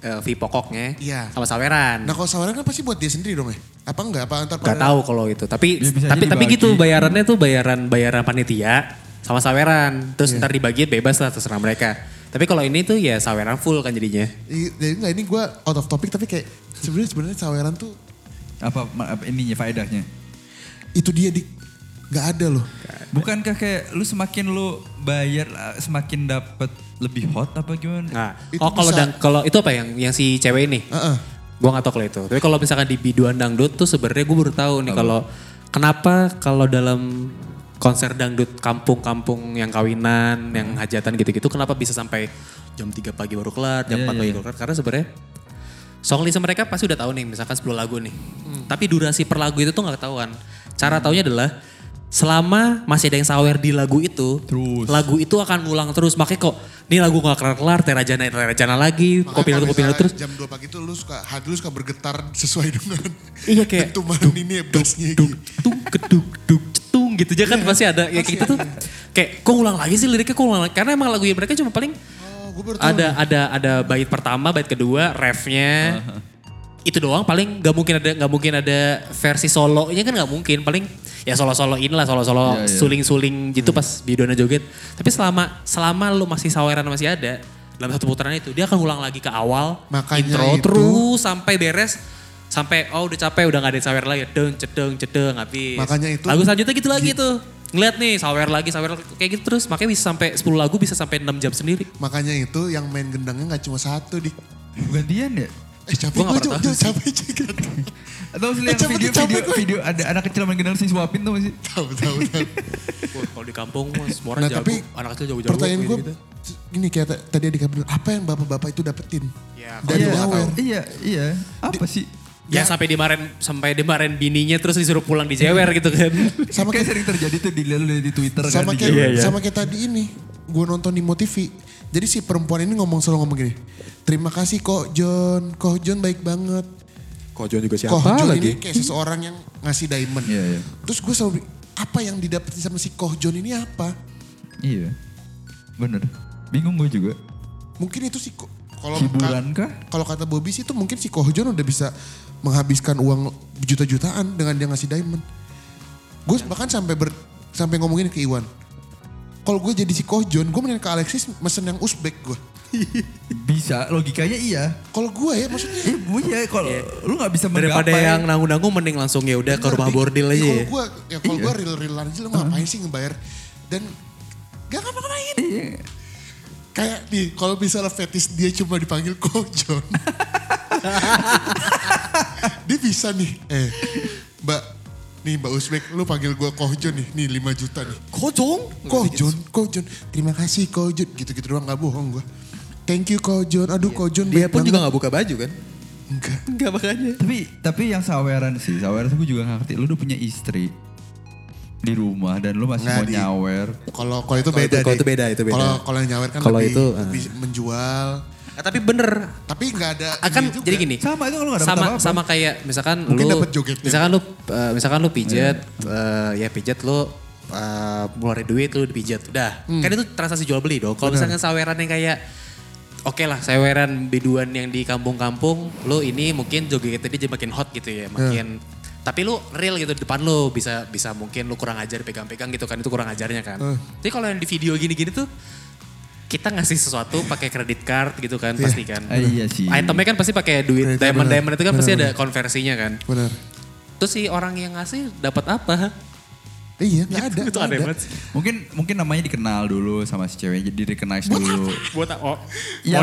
Speaker 1: eh, fee pokoknya
Speaker 2: Iya.
Speaker 1: sama saweran.
Speaker 2: Nah kalau saweran kan pasti buat dia sendiri dong ya? Apa enggak? Apa antar
Speaker 1: Gak tahu kalau itu. Tapi
Speaker 3: Ya, bisa
Speaker 1: tapi
Speaker 3: aja
Speaker 1: tapi
Speaker 3: dibagi.
Speaker 1: gitu bayarannya tuh bayaran bayaran panitia sama saweran. Terus
Speaker 2: Iya.
Speaker 1: ntar dibagiin bebas lah terserah mereka. Tapi kalau ini tuh ya saweran full kan jadinya.
Speaker 2: I- Iya, Jadi enggak ini gue out of topic tapi kayak sebenarnya sebenarnya saweran tuh
Speaker 3: Apa, ma- apa ininya faedahnya?
Speaker 2: itu dia di nggak ada loh.
Speaker 3: Bukankah kayak lu semakin lu bayar eh, semakin dapat lebih hot apa gimana?
Speaker 1: Nah,
Speaker 2: Itu
Speaker 1: oh kalau
Speaker 2: bisa-
Speaker 1: dang- kalau itu apa yang yang si cewek ini?
Speaker 2: Heeh.
Speaker 1: Gua nggak tahu kalau itu. Tapi kalau misalkan di biduan dangdut tuh sebenarnya gue baru tahu nih kalau kenapa kalau dalam konser dangdut kampung-kampung yang kawinan, yang
Speaker 3: Hmm.
Speaker 1: hajatan gitu-gitu kenapa bisa sampai jam 3 pagi baru kelar, jam
Speaker 3: Iya,
Speaker 1: 4
Speaker 3: iya,
Speaker 1: pagi
Speaker 3: iya.
Speaker 1: baru kelar karena sebenarnya song list mereka pasti udah tahu nih misalkan 10 lagu nih.
Speaker 3: Hmm.
Speaker 1: Tapi durasi per lagu itu tuh nggak ketahuan. Cara taunya adalah selama masih ada yang sawer di lagu itu,
Speaker 3: Terus.
Speaker 1: lagu itu akan ngulang terus. Makanya kok ini lagu gak kelar-kelar, terajana, terajana lagi,
Speaker 2: Makanya
Speaker 1: kopi
Speaker 2: kalau
Speaker 1: lu, kopi lu
Speaker 2: misalnya
Speaker 1: terus.
Speaker 2: Jam 2 pagi tuh lu suka hati lu suka bergetar sesuai dengan
Speaker 1: Iya, kayak
Speaker 2: dentuman ini ya bassnya
Speaker 1: duk
Speaker 2: gitu.
Speaker 1: tung keduk duk cetung gitu aja kan pasti ada ya kayak gitu tuh kayak kok ulang lagi sih liriknya kok ulang lagi karena emang lagu yang mereka cuma paling
Speaker 2: gue Oh, baru tahu.
Speaker 1: ada ada ada bait pertama, bait kedua, refnya.
Speaker 2: Uh-huh.
Speaker 1: Itu doang paling nggak mungkin ada nggak mungkin ada versi solonya kan nggak mungkin paling ya solo-soloin lah solo-solo
Speaker 3: Iya, iya.
Speaker 1: suling-suling gitu
Speaker 2: Hmm.
Speaker 1: pas Bidona joget. Tapi selama selama lu masih saweran masih ada dalam satu putaran itu dia akan ulang lagi ke awal
Speaker 2: Makanya
Speaker 1: intro
Speaker 2: itu-
Speaker 1: terus sampai beres sampai oh udah capek udah nggak ada yang sawer lagi deng cedeng cedeng habis
Speaker 2: Makanya itu-
Speaker 1: lagu selanjutnya gitu lagi tuh ngeliat nih sawer lagi sawer lagi, kayak gitu terus makanya bisa sampai 10 lagu bisa sampai 6 jam sendiri
Speaker 2: Makanya itu yang main gendangnya nggak cuma satu di.
Speaker 3: Gantian ya?
Speaker 2: Eh
Speaker 1: Gua
Speaker 2: capek
Speaker 1: nggak
Speaker 2: gue
Speaker 1: pernah
Speaker 2: Cok.
Speaker 1: tahu
Speaker 2: Cok, capek juga.
Speaker 3: Atau sih
Speaker 2: Eh,
Speaker 3: lihat
Speaker 2: capek,
Speaker 3: video,
Speaker 2: capek
Speaker 3: video,
Speaker 2: gue.
Speaker 3: video ada anak kecil main gendang sih suapin tuh masih.
Speaker 2: Tahu tahu tahu.
Speaker 1: Wah, kalau di kampung mah semua orang
Speaker 2: Nah
Speaker 1: jago.
Speaker 2: tapi
Speaker 1: anak kecil jago-jago. gitu.
Speaker 2: pertanyaan ya. gue
Speaker 1: gitu-gitu.
Speaker 2: gini kayak t- tadi adik bener apa yang bapak-bapak itu dapetin
Speaker 6: Ya,
Speaker 2: dari
Speaker 3: iya,
Speaker 2: nowhere?
Speaker 3: Iya, iya. Apa sih?
Speaker 1: Ya, sampai dimarahin sampai dimarahin bininya terus disuruh pulang dijewer
Speaker 2: Hmm.
Speaker 1: gitu kan.
Speaker 2: Sama kayak
Speaker 3: kayak sering terjadi tuh di, di, di Twitter
Speaker 2: sama
Speaker 3: kan.
Speaker 2: kayak
Speaker 1: Iya,
Speaker 3: di-
Speaker 2: sama kayak tadi ini gue nonton di MoTV. Jadi si perempuan ini ngomong selalu ngomong gini. Terima kasih kok John, kok John baik banget.
Speaker 6: Kojon juga siapa
Speaker 2: Koh John
Speaker 6: lagi?
Speaker 2: ini kayak seseorang yang ngasih diamond.
Speaker 3: Iya, iya.
Speaker 2: Terus gue selalu bi- apa yang didapetin sama si Koh John ini apa?
Speaker 3: Iya. Bener. Bingung gue juga.
Speaker 2: Mungkin itu si Ko- kalau
Speaker 3: Hiburan kah?
Speaker 2: kalau kata Bobby sih itu mungkin si Koh John udah bisa menghabiskan uang juta-jutaan dengan dia ngasih diamond. Gue bahkan sampai ber, sampai ngomongin ke Iwan. Kalau gue jadi si Koh John, gue mendingan ke Alexis mesen yang Uzbek gue.
Speaker 3: Bisa, logikanya iya.
Speaker 2: Kalau gue ya maksudnya
Speaker 3: Eh, bu, iya kalau lu gak bisa
Speaker 1: Daripada
Speaker 3: menggapai.
Speaker 2: ya?
Speaker 1: yang nanggung-nanggung mending langsung ya udah ke rumah bordil aja
Speaker 2: Kalau
Speaker 1: ya.
Speaker 2: gue ya
Speaker 6: Iya.
Speaker 2: kalau gue real-realan aja lu ngapain sih ngebayar dan gak ngapa-ngapain.
Speaker 6: Iya.
Speaker 2: Kayak nih kalau misalnya fetis dia cuma dipanggil kojon. dia bisa nih. Eh Mbak Nih Mbak Uzbek, lu panggil gue Kohjon nih, nih 5 juta nih.
Speaker 6: Kojong?
Speaker 2: Kohjon, Kohjon, terima kasih Kohjon. Gitu-gitu doang gak bohong gue. Thank you Kohjon, aduh Kohjon.
Speaker 6: Iya. Dia
Speaker 2: baik
Speaker 6: pun juga
Speaker 2: banget.
Speaker 6: nggak buka baju kan?
Speaker 2: Enggak.
Speaker 6: Enggak makanya.
Speaker 3: Tapi tapi yang saweran sih, saweran tuh gue juga gak ngerti. Lu udah punya istri di rumah dan lu masih
Speaker 2: Nggak,
Speaker 3: mau
Speaker 2: di-
Speaker 3: nyawer.
Speaker 2: Kalau kalau itu
Speaker 6: Kalau
Speaker 2: beda
Speaker 6: itu- kalau
Speaker 2: deh.
Speaker 6: itu beda, itu beda.
Speaker 2: Kalau kalau yang nyawer kan
Speaker 6: Kalau
Speaker 2: lebih,
Speaker 6: itu, eh.
Speaker 2: lebih menjual.
Speaker 1: Eh, tapi bener
Speaker 2: Tapi nggak ada.
Speaker 1: akan
Speaker 2: ini Iya,
Speaker 1: Ah, kan
Speaker 2: juga.
Speaker 1: jadi gini.
Speaker 3: Sama itu kalau nggak dapet
Speaker 1: sama
Speaker 3: apa-apa.
Speaker 1: sama kayak misalkan
Speaker 2: Mungkin
Speaker 1: lu
Speaker 2: dapet jogetnya.
Speaker 1: misalkan lu eh, misalkan lu pijat
Speaker 3: Iya.
Speaker 1: eh, ya pijat lu eh, ngeluarin duit lu dipijat udah.
Speaker 3: Hmm.
Speaker 1: Kan itu transaksi jual beli dong. Kalau misalkan saweran yang kayak Oke lah, saweran biduan yang di kampung-kampung, lu ini mungkin jogetnya dia jadi makin hot gitu ya,
Speaker 3: Iya.
Speaker 1: makin tapi lu real gitu di depan lu bisa bisa mungkin lu kurang ajar pegang-pegang gitu kan itu kurang ajarnya kan.
Speaker 3: Eh.
Speaker 1: Tapi kalau yang di video gini-gini tuh kita ngasih sesuatu pakai kredit card gitu kan pasti kan.
Speaker 3: Ah, iya sih.
Speaker 1: Itemnya kan pasti pakai duit
Speaker 2: Kreditnya
Speaker 1: diamond
Speaker 2: benar.
Speaker 1: diamond itu kan pasti ada konversinya kan.
Speaker 2: Benar.
Speaker 1: Terus si orang yang ngasih dapat apa?
Speaker 2: Iya nggak ada.
Speaker 1: itu
Speaker 2: nggak
Speaker 1: aneh
Speaker 2: ada.
Speaker 1: banget. sih.
Speaker 3: Mungkin mungkin namanya dikenal dulu sama si cewek jadi recognize dulu.
Speaker 1: Buat oh,
Speaker 3: Ya,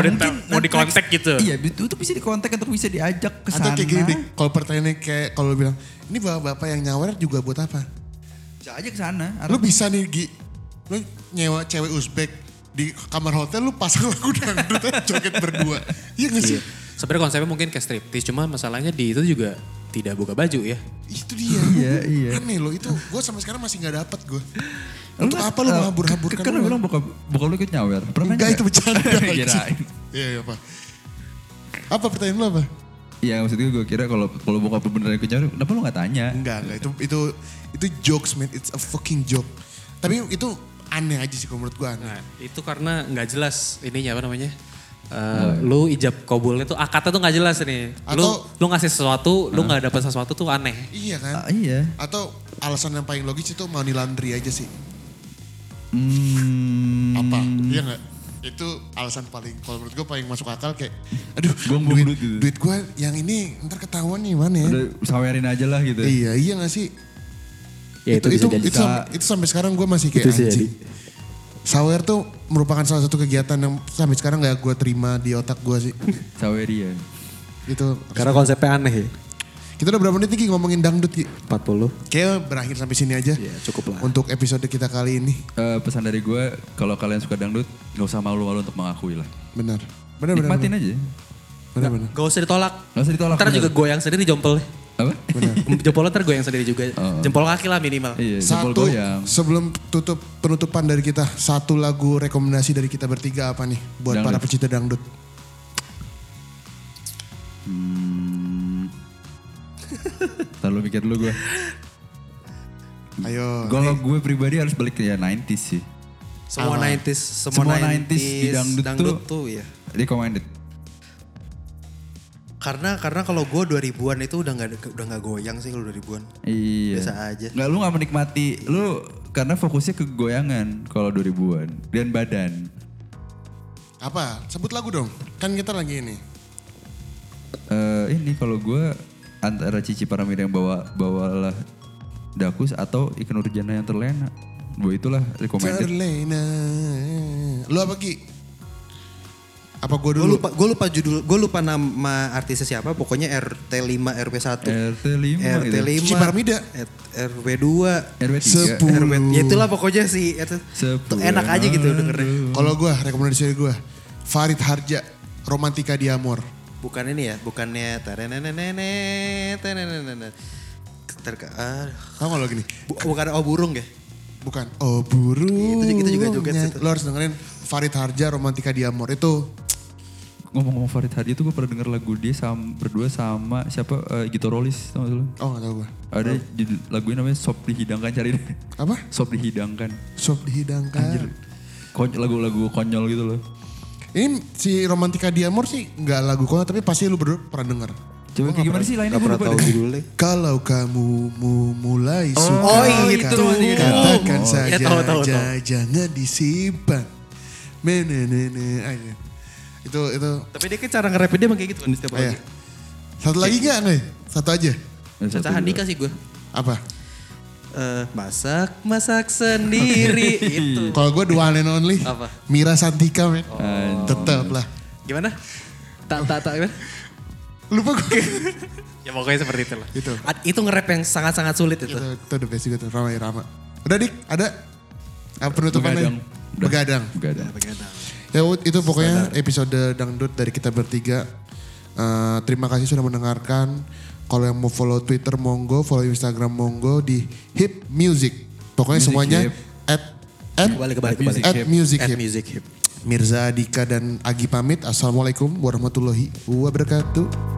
Speaker 1: mau di
Speaker 3: mungkin
Speaker 1: mau di
Speaker 3: next-
Speaker 1: kontak gitu.
Speaker 3: Iya, itu tuh bisa di kontak atau bisa diajak ke
Speaker 2: Atau
Speaker 3: sana.
Speaker 2: kayak gini, Dik. kalau pertanyaannya kayak kalau lu bilang, ini bapak-bapak yang nyawer juga buat apa?
Speaker 3: Bisa aja ke sana.
Speaker 2: Lu bisa nih Gi, lu nyewa cewek Uzbek di kamar hotel lu pasang lagu dangdut aja, joget berdua. Iya gak sih?
Speaker 1: Sebenarnya konsepnya mungkin ke striptease, cuma masalahnya di itu juga tidak buka baju ya.
Speaker 2: Itu dia.
Speaker 3: Iya, iya.
Speaker 2: Aneh loh itu, gue sampai sekarang masih nggak dapet gue. Untuk apa lu menghambur-hamburkan?
Speaker 3: Kan lu
Speaker 2: orang?
Speaker 3: bilang buka buka lu ikut nyawer. Pernah
Speaker 2: Enggak itu bercanda.
Speaker 3: Kirain.
Speaker 2: Iya iya, apa? Apa pertanyaan lu apa?
Speaker 3: Iya maksud gue, gue kira kalau kalau bokap lu beneran ikut nyawer, kenapa lu gak tanya?
Speaker 2: Enggak enggak itu itu itu jokes man, it's a fucking joke. Tapi itu aneh aja sih kalau menurut gua aneh.
Speaker 1: Nah, itu karena nggak jelas ininya apa namanya. Eh, lu ijab kabulnya tuh akadnya tuh nggak jelas nih.
Speaker 2: Atau-
Speaker 1: lu lu ngasih sesuatu, lu nggak dapat sesuatu tuh aneh.
Speaker 2: Iya kan?
Speaker 3: Ah, iya.
Speaker 2: Atau alasan yang paling logis itu money laundry aja sih.
Speaker 3: Hmm,
Speaker 2: Apa? Iya enggak? Itu alasan paling kalau menurut gua paling masuk akal kayak aduh
Speaker 3: Gua ngomong
Speaker 2: duit,
Speaker 3: duit gitu.
Speaker 2: duit gua yang ini ntar ketahuan nih mana ya.
Speaker 3: udah sawerin aja lah gitu.
Speaker 2: Iya iya gak sih?
Speaker 6: Ya itu, bisa jadi.
Speaker 2: itu, sampai, itu sampai sekarang gue masih kayak
Speaker 6: Itu bisa
Speaker 2: anjing. Sawer tuh merupakan salah satu kegiatan yang sampai sekarang gak gue terima di otak gue sih.
Speaker 3: Saweria.
Speaker 2: Itu.
Speaker 6: Karena konsepnya aneh ya.
Speaker 2: Gitu. Kita udah berapa menit nih Ki, ngomongin dangdut Ki?
Speaker 6: 40.
Speaker 2: Kayaknya berakhir sampai sini aja.
Speaker 6: Iya, cukup lah.
Speaker 2: Untuk episode kita kali ini.
Speaker 3: Eh, pesan dari gue, kalau kalian suka dangdut, gak usah malu-malu untuk mengakui lah.
Speaker 2: Benar. Benar benar.
Speaker 3: Nikmatin aja.
Speaker 2: Benar benar.
Speaker 1: Gak usah ditolak.
Speaker 3: Gak usah ditolak.
Speaker 1: Ntar
Speaker 3: bener.
Speaker 1: juga goyang sendiri jempolnya.
Speaker 3: Apa?
Speaker 1: Jempolnya ntar goyang sendiri juga. Jempol kaki lah minimal.
Speaker 3: iya, jempol
Speaker 2: Satu
Speaker 3: goyang.
Speaker 2: sebelum tutup penutupan dari kita, satu lagu rekomendasi dari kita bertiga apa nih buat
Speaker 3: Dangdut.
Speaker 2: para pecinta dangdut?
Speaker 3: Hmm. Ntar lu mikir dulu gue.
Speaker 2: Ayo.
Speaker 3: Kalau gue pribadi harus balik ke ya 90s sih.
Speaker 1: Semua 90s, semua,
Speaker 3: Semua
Speaker 1: 90s,
Speaker 3: 90s di dangdut
Speaker 1: tuh ya.
Speaker 3: recommended.
Speaker 1: Karena karena kalau gue 2000-an itu udah nggak udah nggak goyang sih kalau 2000-an.
Speaker 3: Iya.
Speaker 1: Biasa aja.
Speaker 3: Nggak, lu nggak menikmati. Lu karena fokusnya ke goyangan kalau 2000-an. Dan badan.
Speaker 2: Apa? Sebut lagu dong. Kan kita lagi ini.
Speaker 3: Eh ini kalau gue antara Cici Paramir yang bawa bawalah Dakus atau Ikan Urjana yang terlena. Gue itulah recommended.
Speaker 2: Terlena. Lu apa Ki? Apa gua
Speaker 1: Gue
Speaker 2: dulu?
Speaker 1: lupa gue lupa judul, gue lupa nama artisnya siapa. Pokoknya RT5, RP1.
Speaker 3: RT5 gitu.
Speaker 1: RT5.
Speaker 2: Cici Parmida.
Speaker 1: RW2.
Speaker 3: RW3.
Speaker 2: Sepuluh.
Speaker 1: RW ya itulah pokoknya sih. RT, tuh
Speaker 3: Sepuluh.
Speaker 1: enak aja gitu dengernya.
Speaker 2: Kalau gua rekomendasi dari gua Farid Harja Romantika di Amor.
Speaker 1: Bukan ini ya, bukannya terenenenene, terenenenene. Terka, ah,
Speaker 2: Tahu nggak lo gini?
Speaker 1: bu- bukan oh burung ya?
Speaker 2: Bukan. Oh burung.
Speaker 1: Iya, Itu- itu juga joget
Speaker 2: nyanyi.
Speaker 1: situ.
Speaker 2: Lo harus dengerin Farid Harja Romantika di Amor itu.
Speaker 3: Ngomong-ngomong Farid Hardi tuh gue pernah denger lagu dia sama, berdua sama siapa eh, Gito Rolis tau gak sih lu?
Speaker 2: Oh nggak tahu gua.
Speaker 3: Ada judul lagunya namanya Sop Dihidangkan cari deh.
Speaker 2: Apa?
Speaker 3: Sop Dihidangkan.
Speaker 2: Sop dihidangkan.
Speaker 3: Kon- lagu-lagu konyol gitu loh.
Speaker 2: Ini si Romantika di Amor sih nggak lagu kok tapi pasti lu berdua pernah denger.
Speaker 3: Coba kayak gimana sih lainnya?
Speaker 1: Gak
Speaker 3: gue
Speaker 1: pernah
Speaker 3: lupa
Speaker 1: tahu
Speaker 3: deh.
Speaker 1: judulnya.
Speaker 2: Kalau kamu mu- mulai suka,
Speaker 1: oh,
Speaker 2: kata-
Speaker 1: itu.
Speaker 2: katakan
Speaker 1: Oh,
Speaker 2: saja,
Speaker 1: ya, tahu, tahu,
Speaker 2: ja-
Speaker 1: tahu.
Speaker 2: jangan disimpan. Menenene, ah, iya. Itu itu.
Speaker 1: Tapi dia kan cara nge-rapnya dia emang kayak gitu kan di setiap
Speaker 2: Ayah.
Speaker 1: lagu.
Speaker 2: Iya. Satu lagi nggak nih? Satu aja.
Speaker 3: Eh, satu
Speaker 1: Caca
Speaker 3: dulu.
Speaker 1: Handika sih gue.
Speaker 2: Apa?
Speaker 1: Eh, masak, masak sendiri itu.
Speaker 2: Kalau gue dua and only.
Speaker 1: Hmm. Apa?
Speaker 2: Mira Santika men. Tetap lah.
Speaker 1: Gimana? Tak tak tak gimana?
Speaker 2: Lupa gue.
Speaker 1: Ya pokoknya seperti itu lah.
Speaker 2: Itu.
Speaker 1: Ad- Itu nge-rap yang sangat-sangat sulit itu.
Speaker 2: itu, itu the best juga tuh. Rama Irama. Udah dik, ada? Apa penutupan
Speaker 3: Begadang.
Speaker 2: lain? Begadang.
Speaker 3: Begadang.
Speaker 2: Ya Wud, itu pokoknya episode dangdut dari kita bertiga. Eh, terima kasih sudah mendengarkan. Kalau yang mau follow Twitter monggo, follow Instagram monggo di Hip Music. Pokoknya
Speaker 3: Music
Speaker 2: semuanya
Speaker 3: Hip.
Speaker 2: at at
Speaker 1: Balik balik balik.
Speaker 2: at Music
Speaker 1: At
Speaker 2: Hip.
Speaker 1: music hip.
Speaker 2: Mirza Dika dan Agi pamit. Assalamualaikum warahmatullahi wabarakatuh.